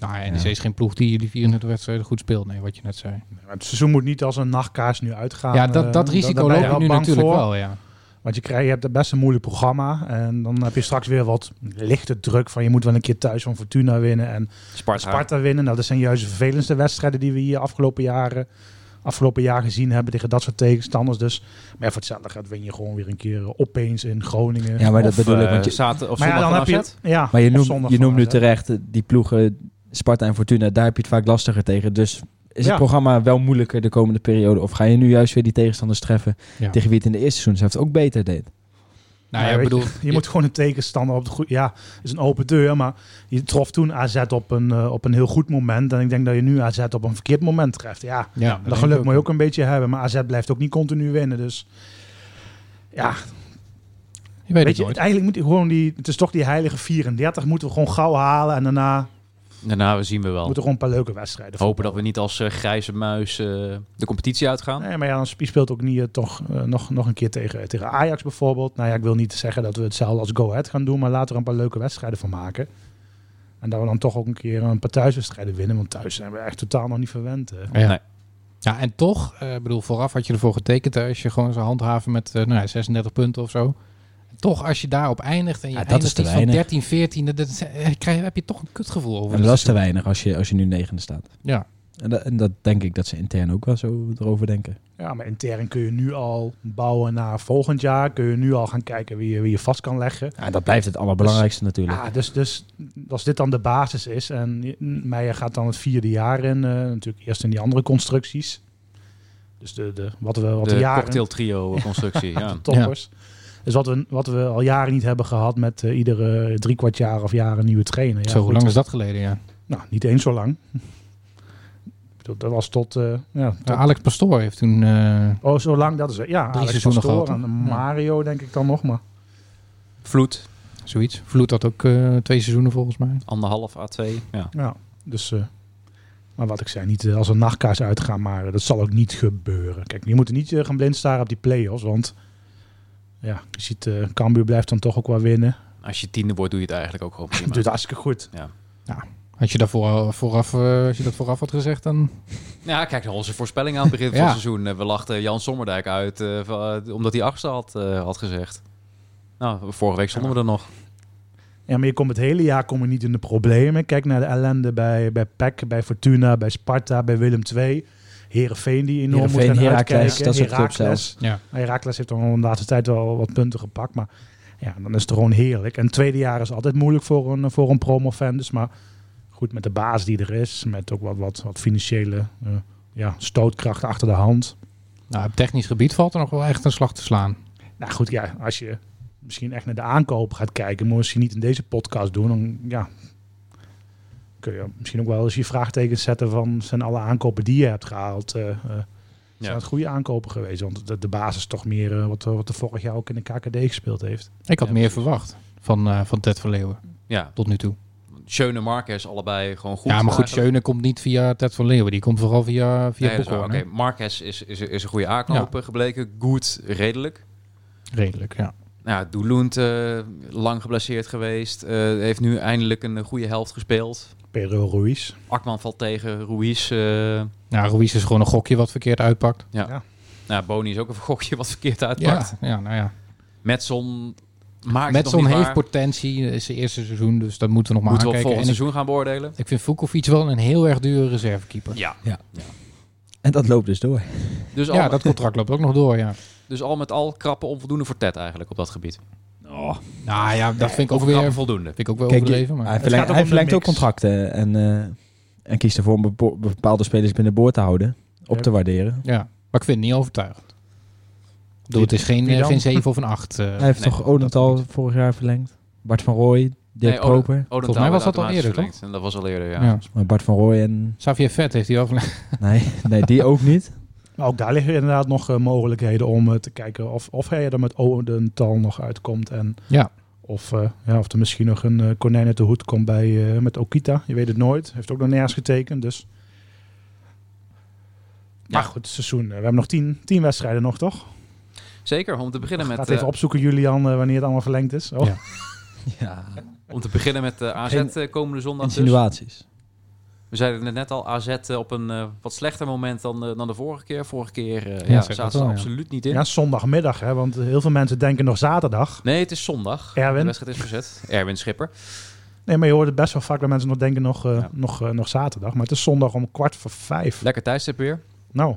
[SPEAKER 3] Nou, en
[SPEAKER 5] Ja.
[SPEAKER 3] NEC is geen ploeg die die 34 wedstrijden goed speelt. Nee, wat je net zei.
[SPEAKER 4] Het seizoen moet niet als een nachtkaars nu uitgaan.
[SPEAKER 3] ja, dat,
[SPEAKER 4] eh,
[SPEAKER 3] dat
[SPEAKER 4] daar-
[SPEAKER 3] risico
[SPEAKER 4] daar ben je
[SPEAKER 3] lopen we nu
[SPEAKER 4] bang
[SPEAKER 3] natuurlijk
[SPEAKER 4] voor.
[SPEAKER 3] wel. Ja. Nou,
[SPEAKER 4] Want je, krijgt, je hebt best een moeilijk programma. En dan heb je straks weer wat lichte druk van je moet wel een keer thuis van Fortuna winnen. En
[SPEAKER 2] Sparta.
[SPEAKER 4] Sparta winnen. Nou, dat zijn juist de vervelendste wedstrijden die we hier afgelopen jaren afgelopen jaar gezien hebben tegen dat soort tegenstanders. Dus, maar ja, voor hetzelfde geld win je gewoon weer een keer eh, opeens in Groningen.
[SPEAKER 5] Ja, maar dat
[SPEAKER 2] Of,
[SPEAKER 5] bedoel ik.
[SPEAKER 2] eh,
[SPEAKER 5] Want je,
[SPEAKER 2] zater- of
[SPEAKER 4] maar ja,
[SPEAKER 2] zondag
[SPEAKER 4] dan
[SPEAKER 2] van
[SPEAKER 4] heb je
[SPEAKER 2] AZ.
[SPEAKER 4] het. Ja,
[SPEAKER 5] maar je
[SPEAKER 4] of
[SPEAKER 5] noemt,
[SPEAKER 4] zondag
[SPEAKER 5] je
[SPEAKER 4] van
[SPEAKER 5] noemt nu
[SPEAKER 4] AZ.
[SPEAKER 5] terecht eh, die ploegen Sparta en Fortuna. Daar heb je het vaak lastiger tegen. Dus is
[SPEAKER 4] Ja.
[SPEAKER 5] het programma wel moeilijker de komende periode? Of ga je nu juist weer die tegenstanders treffen
[SPEAKER 3] Ja.
[SPEAKER 5] tegen wie het in de eerste seizoen zelf ook beter deed?
[SPEAKER 3] Nou,
[SPEAKER 4] Ja,
[SPEAKER 3] ja, ik
[SPEAKER 4] weet
[SPEAKER 3] bedoel,
[SPEAKER 4] Je moet gewoon een tegenstander op de goede... Ja, is een open deur, maar je trof toen AZ op een, eh, op een heel goed moment. En ik denk dat je nu AZ op een verkeerd moment treft. Ja,
[SPEAKER 3] Ja, dat
[SPEAKER 4] dat
[SPEAKER 3] denk
[SPEAKER 4] geluk
[SPEAKER 3] ik
[SPEAKER 4] moet je ook een beetje hebben. Maar AZ blijft ook niet continu winnen, dus... Ja,
[SPEAKER 3] Je weet,
[SPEAKER 4] weet
[SPEAKER 3] het
[SPEAKER 4] je,
[SPEAKER 3] nooit.
[SPEAKER 4] eigenlijk moet je gewoon die... Het is toch die heilige 34, moeten we gewoon gauw halen. En daarna
[SPEAKER 2] Daarna zien nou, we wel.
[SPEAKER 4] moeten we gewoon een paar leuke wedstrijden
[SPEAKER 2] Hopen dat we niet als eh, grijze muis eh, de competitie uitgaan.
[SPEAKER 4] Nee, maar ja, dan sp- je speelt ook niet eh, toch eh, nog, nog een keer tegen, tegen Ajax bijvoorbeeld. Nou ja, ik wil niet zeggen dat we hetzelfde als Go Ahead gaan doen, maar laten we er een paar leuke wedstrijden van maken. En dat we dan toch ook een keer een paar thuiswedstrijden winnen, want thuis zijn we echt totaal nog niet verwend. hè.
[SPEAKER 3] Ja.
[SPEAKER 2] eh, Nee.
[SPEAKER 3] Ja, en toch, eh, ik bedoel, vooraf had je ervoor getekend hè, als je gewoon zou handhaven met eh, nou, ja, 36 punten of zo. En toch, als je daarop eindigt en je
[SPEAKER 5] Ja, dat is
[SPEAKER 3] eindigt
[SPEAKER 5] te
[SPEAKER 3] iets van
[SPEAKER 5] weinig.
[SPEAKER 3] 13, 14, dat, dat- eh, krijg, heb je toch een kutgevoel over.
[SPEAKER 5] En dat is te weinig als je, als je nu negende staat.
[SPEAKER 3] Ja,
[SPEAKER 5] En dat, en dat denk ik dat ze intern ook wel zo erover denken.
[SPEAKER 4] Ja, maar intern kun je nu al bouwen naar volgend jaar. Kun je nu al gaan kijken wie je, wie je vast kan leggen.
[SPEAKER 5] Ja, dat blijft het allerbelangrijkste natuurlijk.
[SPEAKER 4] Ja, dus, dus als dit dan de basis is en je- Meijer gaat dan het vierde jaar in, eh, natuurlijk eerst in die andere constructies. Dus de, de, wat we wat de,
[SPEAKER 2] de
[SPEAKER 4] jaren,
[SPEAKER 2] cocktail trio constructie. ja.
[SPEAKER 4] toppers. Dus wat we, wat we al jaren niet hebben gehad met eh, iedere drie kwart jaar of jaren nieuwe trainer. Ja,
[SPEAKER 3] zo hoe
[SPEAKER 4] goed.
[SPEAKER 3] lang is dat geleden, ja.
[SPEAKER 4] Nou, niet eens zo lang. Ik bedoel, Dat was tot... eh, ja, tot-
[SPEAKER 3] Ja, Alex Pastoor heeft toen... eh,
[SPEAKER 4] oh, zo lang, dat is... Ja, Alex
[SPEAKER 3] seizoenen
[SPEAKER 4] Pastoor
[SPEAKER 3] gehad,
[SPEAKER 4] en
[SPEAKER 3] hè? Ja.
[SPEAKER 4] Mario denk ik dan nog, maar...
[SPEAKER 2] Vloed,
[SPEAKER 3] Zoiets. Vloed had ook eh, twee seizoenen volgens mij.
[SPEAKER 2] anderhalf A2. Ja.
[SPEAKER 4] Ja, dus... eh, maar wat ik zei, niet eh, als een nachtkaars uitgaan, maar eh, dat zal ook niet gebeuren. Kijk, je moet er niet eh, gaan blind staren op die play-offs, want... Ja, je ziet, eh Cambuur blijft dan toch ook wel winnen.
[SPEAKER 2] Als je tiende wordt, doe je het eigenlijk ook gewoon prima.
[SPEAKER 4] Doet hartstikke goed.
[SPEAKER 3] Had je, daarvoor, al- vooraf, eh, als je dat vooraf had gezegd, dan...
[SPEAKER 2] Ja, kijk naar onze voorspelling aan het begin van
[SPEAKER 3] Ja.
[SPEAKER 2] het seizoen. Eh, We lachten Jan Sommerdijk uit eh, van, eh, omdat hij achtste had, eh, had gezegd. Nou, vorige week stonden we er nog.
[SPEAKER 4] Ja, maar je komt het hele jaar kom je niet in de problemen. Kijk naar de ellende bij, bij PEC, bij Fortuna, bij Sparta, bij Willem II. Herenveen die enorm moet
[SPEAKER 5] Heerenveen,
[SPEAKER 4] gaan
[SPEAKER 5] Heracles,
[SPEAKER 4] uitkijken.
[SPEAKER 5] dat soort clubs
[SPEAKER 4] Heracles.
[SPEAKER 5] zelfs.
[SPEAKER 3] Ja.
[SPEAKER 4] Nou, Heracles heeft dan de laatste tijd wel wat punten gepakt. Maar ja, dan is het gewoon heerlijk. En het tweede jaar is altijd moeilijk voor een, voor een promo-fan. Dus maar goed, met de baas die er is. Met ook wat, wat, wat financiële eh, ja, stootkracht achter de hand.
[SPEAKER 3] Nou, op technisch gebied valt er nog wel echt een slag te slaan.
[SPEAKER 4] Nou goed, ja, als je misschien echt naar de aankoop gaat kijken, moet je misschien niet in deze podcast doen. Dan ja, kun je misschien ook wel eens je vraagtekens zetten van zijn alle aankopen die je hebt gehaald. eh, eh, zijn
[SPEAKER 2] Ja.
[SPEAKER 4] het goede aankopen geweest? Want de, de basis is toch meer eh, wat, wat er vorig jaar ook in de KKD gespeeld heeft.
[SPEAKER 3] Ik had
[SPEAKER 2] Ja,
[SPEAKER 3] meer
[SPEAKER 2] precies.
[SPEAKER 3] verwacht van, eh, van Ted van Leeuwen
[SPEAKER 2] Ja,
[SPEAKER 3] tot nu toe.
[SPEAKER 2] Schöne Marquez allebei gewoon goed.
[SPEAKER 3] ja, maar goed,
[SPEAKER 2] eigenlijk.
[SPEAKER 3] Schöne komt niet via Ted van Leeuwen. Die komt vooral via, via
[SPEAKER 2] Nee, dat is waar.
[SPEAKER 3] Boekhorn,
[SPEAKER 2] Oké,
[SPEAKER 3] hè?
[SPEAKER 2] Marquez is, is, is een goede aankoper gebleken. Goed, redelijk.
[SPEAKER 3] Redelijk, ja.
[SPEAKER 2] Nou, Doelund eh, lang geblesseerd geweest. eh, heeft nu eindelijk een eh, goede helft gespeeld.
[SPEAKER 4] Pedro Ruiz.
[SPEAKER 2] Akman valt tegen Ruiz. eh
[SPEAKER 3] Nou, Ruiz is gewoon een gokje wat verkeerd uitpakt.
[SPEAKER 2] nou, Boni is ook een gokje wat verkeerd uitpakt.
[SPEAKER 3] Ja, ja nou ja.
[SPEAKER 2] Metson maakt het nog
[SPEAKER 3] Metson
[SPEAKER 2] niet
[SPEAKER 3] heeft
[SPEAKER 2] waar.
[SPEAKER 3] potentie. Het is zijn eerste seizoen, dus dat moeten we nog maar
[SPEAKER 2] Moeten we op volgend
[SPEAKER 3] aankijken. En ik,
[SPEAKER 2] seizoen gaan beoordelen?
[SPEAKER 3] ik vind Vukovic wel een heel erg dure reservekeeper.
[SPEAKER 2] Ja.
[SPEAKER 5] En dat loopt dus door.
[SPEAKER 2] Dus,
[SPEAKER 3] Ja,
[SPEAKER 2] al,
[SPEAKER 3] dat contract loopt ook nog door, ja.
[SPEAKER 2] dus al met al krappe onvoldoende voor Ted eigenlijk op dat gebied.
[SPEAKER 3] Nou ja, dat vind ik
[SPEAKER 2] Of
[SPEAKER 3] ook weer
[SPEAKER 2] krappe
[SPEAKER 3] vind
[SPEAKER 2] voldoende.
[SPEAKER 3] ik ook wel
[SPEAKER 5] Kijk,
[SPEAKER 3] overdreven.
[SPEAKER 5] hij
[SPEAKER 3] Maar
[SPEAKER 5] verlengt,
[SPEAKER 4] gaat ook
[SPEAKER 5] hij
[SPEAKER 4] om de
[SPEAKER 5] verlengt ook
[SPEAKER 4] mix.
[SPEAKER 5] contracten en, eh, en kiest ervoor om bepo- bepaalde spelers binnen boord te houden. Op
[SPEAKER 4] Ja.
[SPEAKER 5] te waarderen.
[SPEAKER 3] ja, maar ik vind het niet overtuigend. Ik bedoel, het is geen,
[SPEAKER 4] Wie
[SPEAKER 3] eh,
[SPEAKER 4] dan?
[SPEAKER 3] geen 7 of een 8. eh.
[SPEAKER 5] Hij heeft
[SPEAKER 2] nee,
[SPEAKER 5] toch Odental vorig jaar verlengd? Bart van Rooij, Dirk
[SPEAKER 2] Nee, Oden-
[SPEAKER 5] Proper.
[SPEAKER 2] Odenthal
[SPEAKER 3] Volgens mij was
[SPEAKER 2] werd
[SPEAKER 3] dat al
[SPEAKER 2] automatisch
[SPEAKER 3] eerder,
[SPEAKER 2] verlengd. En dat was al eerder, ja.
[SPEAKER 3] ja.
[SPEAKER 5] Maar Bart van Rooij en...
[SPEAKER 3] Xavier Vet heeft hij wel verlengd.
[SPEAKER 5] Nee, nee die ook niet.
[SPEAKER 4] Maar Nou, ook daar liggen inderdaad nog eh, mogelijkheden om eh, te kijken of, of hij er met Odental nog uitkomt. En
[SPEAKER 3] Ja.
[SPEAKER 4] of, eh, ja, of er misschien nog een eh, konijn uit de hoed komt bij, eh, met Okita. Je weet het nooit. Heeft ook nog nergens getekend. Dus.
[SPEAKER 2] Ja.
[SPEAKER 4] Maar goed, het seizoen. eh, We hebben nog tien, tien wedstrijden nog, toch?
[SPEAKER 2] Zeker, om te beginnen
[SPEAKER 4] Gaat
[SPEAKER 2] met,
[SPEAKER 4] even
[SPEAKER 2] eh,
[SPEAKER 4] opzoeken, Julian, eh, wanneer het allemaal verlengd is. Oh,
[SPEAKER 3] Ja.
[SPEAKER 5] Ja,
[SPEAKER 2] om te beginnen met eh, AZ
[SPEAKER 5] Geen-
[SPEAKER 2] eh, komende zondag. dus.
[SPEAKER 5] insinuaties.
[SPEAKER 2] We zeiden het net al, AZ eh, op een eh, wat slechter moment dan, eh, dan de vorige keer. Vorige keer eh,
[SPEAKER 3] Ja,
[SPEAKER 2] ja,
[SPEAKER 3] zeg dat
[SPEAKER 2] zaten ze
[SPEAKER 3] wel,
[SPEAKER 2] er
[SPEAKER 3] ja.
[SPEAKER 2] absoluut niet in.
[SPEAKER 4] ja, zondagmiddag, hè, want heel veel mensen denken nog zaterdag.
[SPEAKER 2] Nee, het is zondag.
[SPEAKER 4] Erwin.
[SPEAKER 2] De wedstrijd is verzet. Erwin Schipper.
[SPEAKER 4] Nee, maar je hoort het best wel vaak dat mensen nog denken nog, eh,
[SPEAKER 2] Ja.
[SPEAKER 4] nog, eh, nog zaterdag. Maar het is zondag om kwart voor vijf.
[SPEAKER 2] Lekker thuisstip weer.
[SPEAKER 4] Nou,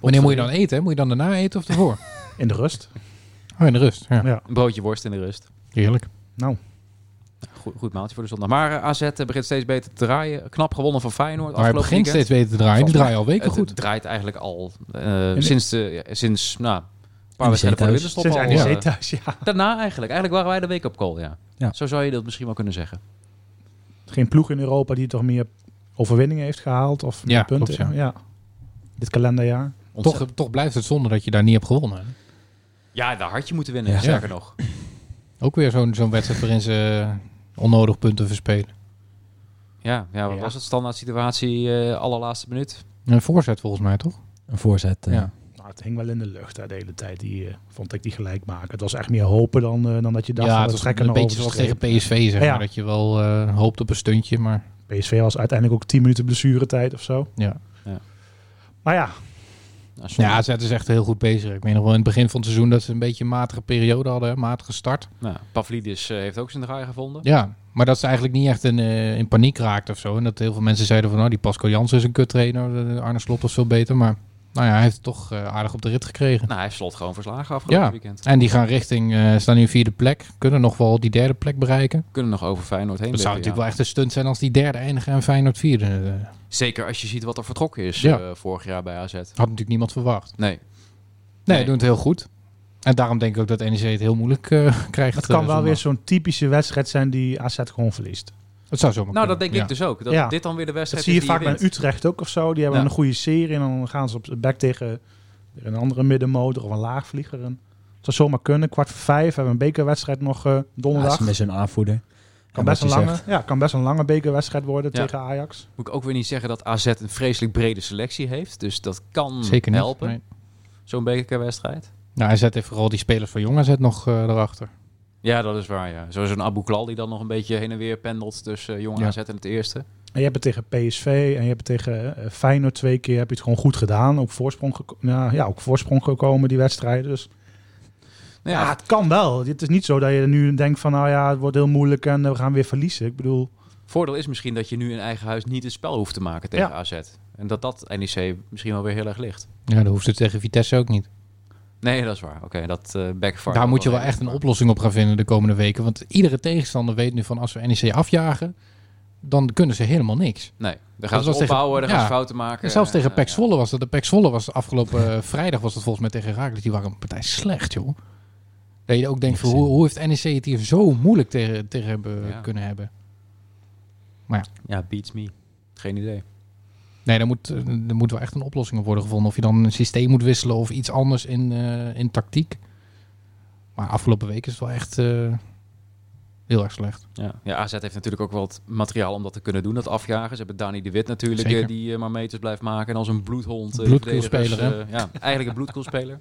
[SPEAKER 3] Wanneer moet je dan eten? hè? Moet je dan daarna eten of ervoor?
[SPEAKER 4] in de rust.
[SPEAKER 3] Oh, in de rust. Ja.
[SPEAKER 4] Ja.
[SPEAKER 2] Een broodje worst in de rust.
[SPEAKER 3] Heerlijk.
[SPEAKER 4] Nou,
[SPEAKER 2] Goed, goed maaltje voor de zondag. Maar eh, AZ begint steeds beter te draaien. Knap gewonnen van Feyenoord.
[SPEAKER 3] Maar hij
[SPEAKER 2] afgelopen
[SPEAKER 3] begint
[SPEAKER 2] weekend.
[SPEAKER 3] steeds beter te draaien. Die
[SPEAKER 2] Volgens
[SPEAKER 3] draaien al weken
[SPEAKER 2] Het,
[SPEAKER 3] goed.
[SPEAKER 2] het draait eigenlijk al eh, sinds, de, ja, sinds nou, een paar
[SPEAKER 5] thuis.
[SPEAKER 2] wedstrijden voor de winterstop
[SPEAKER 4] sinds
[SPEAKER 2] al.
[SPEAKER 4] NEC
[SPEAKER 2] eh,
[SPEAKER 4] thuis, ja.
[SPEAKER 2] daarna eigenlijk. Eigenlijk waren wij de week-up call, ja.
[SPEAKER 5] Ja.
[SPEAKER 2] Zo zou je dat misschien wel kunnen zeggen.
[SPEAKER 4] geen ploeg in Europa die toch meer overwinningen heeft gehaald of meer
[SPEAKER 3] Ja,
[SPEAKER 4] punten.
[SPEAKER 3] klopt,
[SPEAKER 4] ja. Dit kalenderjaar.
[SPEAKER 2] Ontzettend.
[SPEAKER 3] Toch, toch blijft het zonde dat je daar niet hebt gewonnen. hè?
[SPEAKER 2] Ja, daar had je moeten winnen,
[SPEAKER 5] Ja.
[SPEAKER 2] sterker nog.
[SPEAKER 3] Ook weer zo'n zo'n wedstrijd waarin ze onnodig punten verspelen.
[SPEAKER 2] Ja, ja wat
[SPEAKER 4] Ja.
[SPEAKER 2] was het? Standaard situatie, eh allerlaatste minuut.
[SPEAKER 3] Een voorzet volgens mij, toch?
[SPEAKER 5] Een voorzet. eh.
[SPEAKER 3] Ja.
[SPEAKER 4] Nou, het hing wel in de lucht hè, de hele tijd, die, eh, vond ik, die gelijk maken. Het was echt meer hopen dan, eh, dan dat je dacht,
[SPEAKER 3] ja,
[SPEAKER 4] ja,
[SPEAKER 3] het
[SPEAKER 4] dat
[SPEAKER 3] was
[SPEAKER 4] trekken
[SPEAKER 3] een
[SPEAKER 4] nog
[SPEAKER 3] beetje
[SPEAKER 4] over de
[SPEAKER 3] zoals
[SPEAKER 4] streep.
[SPEAKER 3] tegen PSV, zeg
[SPEAKER 4] Ja.
[SPEAKER 3] maar. Dat je wel eh, hoopt op een stuntje, maar
[SPEAKER 4] PSV was uiteindelijk ook 10 minuten blessuretijd of zo.
[SPEAKER 3] ja.
[SPEAKER 4] Maar ja,
[SPEAKER 2] Nou, zonde.
[SPEAKER 3] Ja, AZ is echt heel goed bezig. Ik meen nog wel in het begin van het seizoen dat ze een beetje een matige periode hadden. hè, Matige start.
[SPEAKER 2] Nou, Pavlidis eh, heeft ook zijn draai gevonden.
[SPEAKER 3] Ja, maar dat ze eigenlijk niet echt in, eh, in paniek raakten of zo. En dat heel veel mensen zeiden van, nou, die Pascal Jansen is een kuttrainer. eh, Arne Slot was veel beter, maar nou ja, hij heeft het toch eh, aardig op de rit gekregen.
[SPEAKER 2] Nou, hij heeft slot gewoon verslagen afgelopen
[SPEAKER 3] Ja.
[SPEAKER 2] weekend.
[SPEAKER 3] En die gaan richting, eh, staan nu in vierde plek. Kunnen nog wel die derde plek bereiken.
[SPEAKER 2] Kunnen nog over Feyenoord heen.
[SPEAKER 3] Dat zou
[SPEAKER 2] wippen,
[SPEAKER 3] natuurlijk
[SPEAKER 2] ja.
[SPEAKER 3] wel echt een stunt zijn als die derde eindigen en Feyenoord vierde. Eh,
[SPEAKER 2] Zeker als je ziet wat er vertrokken is
[SPEAKER 3] Ja.
[SPEAKER 2] eh, vorig jaar bij AZ.
[SPEAKER 3] had natuurlijk niemand verwacht.
[SPEAKER 2] Nee,
[SPEAKER 3] Nee,
[SPEAKER 2] Nee.
[SPEAKER 3] doen het heel goed. En daarom denk ik ook dat NEC het heel moeilijk eh, krijgt.
[SPEAKER 4] het
[SPEAKER 3] eh,
[SPEAKER 4] kan wel
[SPEAKER 3] zondag.
[SPEAKER 4] weer zo'n typische wedstrijd zijn die AZ gewoon verliest.
[SPEAKER 3] Het zou zomaar
[SPEAKER 2] nou
[SPEAKER 3] kunnen,
[SPEAKER 2] dat denk
[SPEAKER 3] ja.
[SPEAKER 2] ik dus ook. Dat
[SPEAKER 4] Ja.
[SPEAKER 2] dit dan weer de
[SPEAKER 4] Dat
[SPEAKER 2] wedstrijd
[SPEAKER 4] zie je
[SPEAKER 2] is die
[SPEAKER 4] vaak bij
[SPEAKER 2] wint.
[SPEAKER 4] Utrecht ook of zo. Die hebben
[SPEAKER 2] Ja.
[SPEAKER 4] een goede serie en dan gaan ze op de bek tegen weer een andere middenmotor of een laagvlieger. En het zou zomaar kunnen. Kwart voor vijf hebben we een bekerwedstrijd nog eh,
[SPEAKER 5] Ja,
[SPEAKER 4] donderdag.
[SPEAKER 5] ze met zijn aanvoerder.
[SPEAKER 4] Kan
[SPEAKER 5] Ja,
[SPEAKER 4] best, een
[SPEAKER 5] wat je
[SPEAKER 4] lange,
[SPEAKER 5] zegt.
[SPEAKER 4] ja, kan best een lange bekerwedstrijd worden
[SPEAKER 2] Ja.
[SPEAKER 4] tegen Ajax.
[SPEAKER 2] Moet ik ook weer niet zeggen dat AZ een vreselijk brede selectie heeft. Dus dat kan
[SPEAKER 3] Zeker niet.
[SPEAKER 2] helpen,
[SPEAKER 3] nee.
[SPEAKER 2] zo'n bekerwedstrijd.
[SPEAKER 3] Nou, hij zet even vooral die spelers van Jong AZ nog eh, erachter.
[SPEAKER 2] Ja, dat is waar. Ja. Zoals een Abu Klal die dan nog een beetje heen en weer pendelt tussen eh, jong
[SPEAKER 3] Ja.
[SPEAKER 2] AZ en het eerste.
[SPEAKER 4] En je hebt het tegen PSV en je hebt het tegen eh, Feyenoord twee keer. Heb je het gewoon goed gedaan. Ook voorsprong, geko- ja, ja, ook voorsprong gekomen die wedstrijden. Dus
[SPEAKER 2] Nou
[SPEAKER 4] ja.
[SPEAKER 2] ja,
[SPEAKER 4] het kan wel. Het is niet zo dat je nu denkt van nou ja, het wordt heel moeilijk en eh, we gaan weer verliezen. Ik bedoel,
[SPEAKER 2] Voordeel is misschien dat je nu in eigen huis niet het spel hoeft te maken tegen
[SPEAKER 4] Ja.
[SPEAKER 2] AZ. En dat dat NEC misschien wel weer heel erg ligt.
[SPEAKER 3] Ja, dat hoeft het tegen Vitesse ook niet.
[SPEAKER 2] Nee, dat is waar. Oké, dat eh backfire.
[SPEAKER 3] Daar moet je wel
[SPEAKER 2] even.
[SPEAKER 3] echt een oplossing op gaan vinden de komende weken. Want iedere tegenstander weet nu van als we NEC E afjagen, dan kunnen ze helemaal niks.
[SPEAKER 2] Nee, dan
[SPEAKER 3] was
[SPEAKER 2] gaan ze
[SPEAKER 3] tegen-
[SPEAKER 2] opbouwen, dan gaan
[SPEAKER 3] ja.
[SPEAKER 2] ze fouten maken.
[SPEAKER 3] En zelfs
[SPEAKER 2] en,
[SPEAKER 3] tegen
[SPEAKER 2] eh,
[SPEAKER 3] Pek
[SPEAKER 2] ja.
[SPEAKER 3] Zwolle was dat. De Pek Zwolle was afgelopen eh, vrijdag was dat volgens mij tegen Raakles. Die waren een partij slecht, joh. Dat je ook denkt, van, hoe, hoe heeft NEC het hier zo moeilijk tegen, tegen hebben,
[SPEAKER 2] E Ja.
[SPEAKER 3] kunnen hebben?
[SPEAKER 2] Ja, beats me. Geen idee.
[SPEAKER 3] Nee, daar moet, eh, er moet wel echt een oplossing op worden gevonden. Of je dan een systeem moet wisselen of iets anders in, eh, in tactiek. Maar afgelopen week is het wel echt eh, heel erg slecht.
[SPEAKER 2] Ja. ja, AZ heeft natuurlijk ook wat materiaal om dat te kunnen doen, dat afjagen. Ze hebben Dani de Wit natuurlijk,
[SPEAKER 3] Zeker.
[SPEAKER 2] eh, die eh, maar meters blijft maken. En als een bloedhond. eh,
[SPEAKER 3] Bloedkoelspeler,
[SPEAKER 2] verdedigers, eh, ja, eigenlijk een bloedkoelspeler.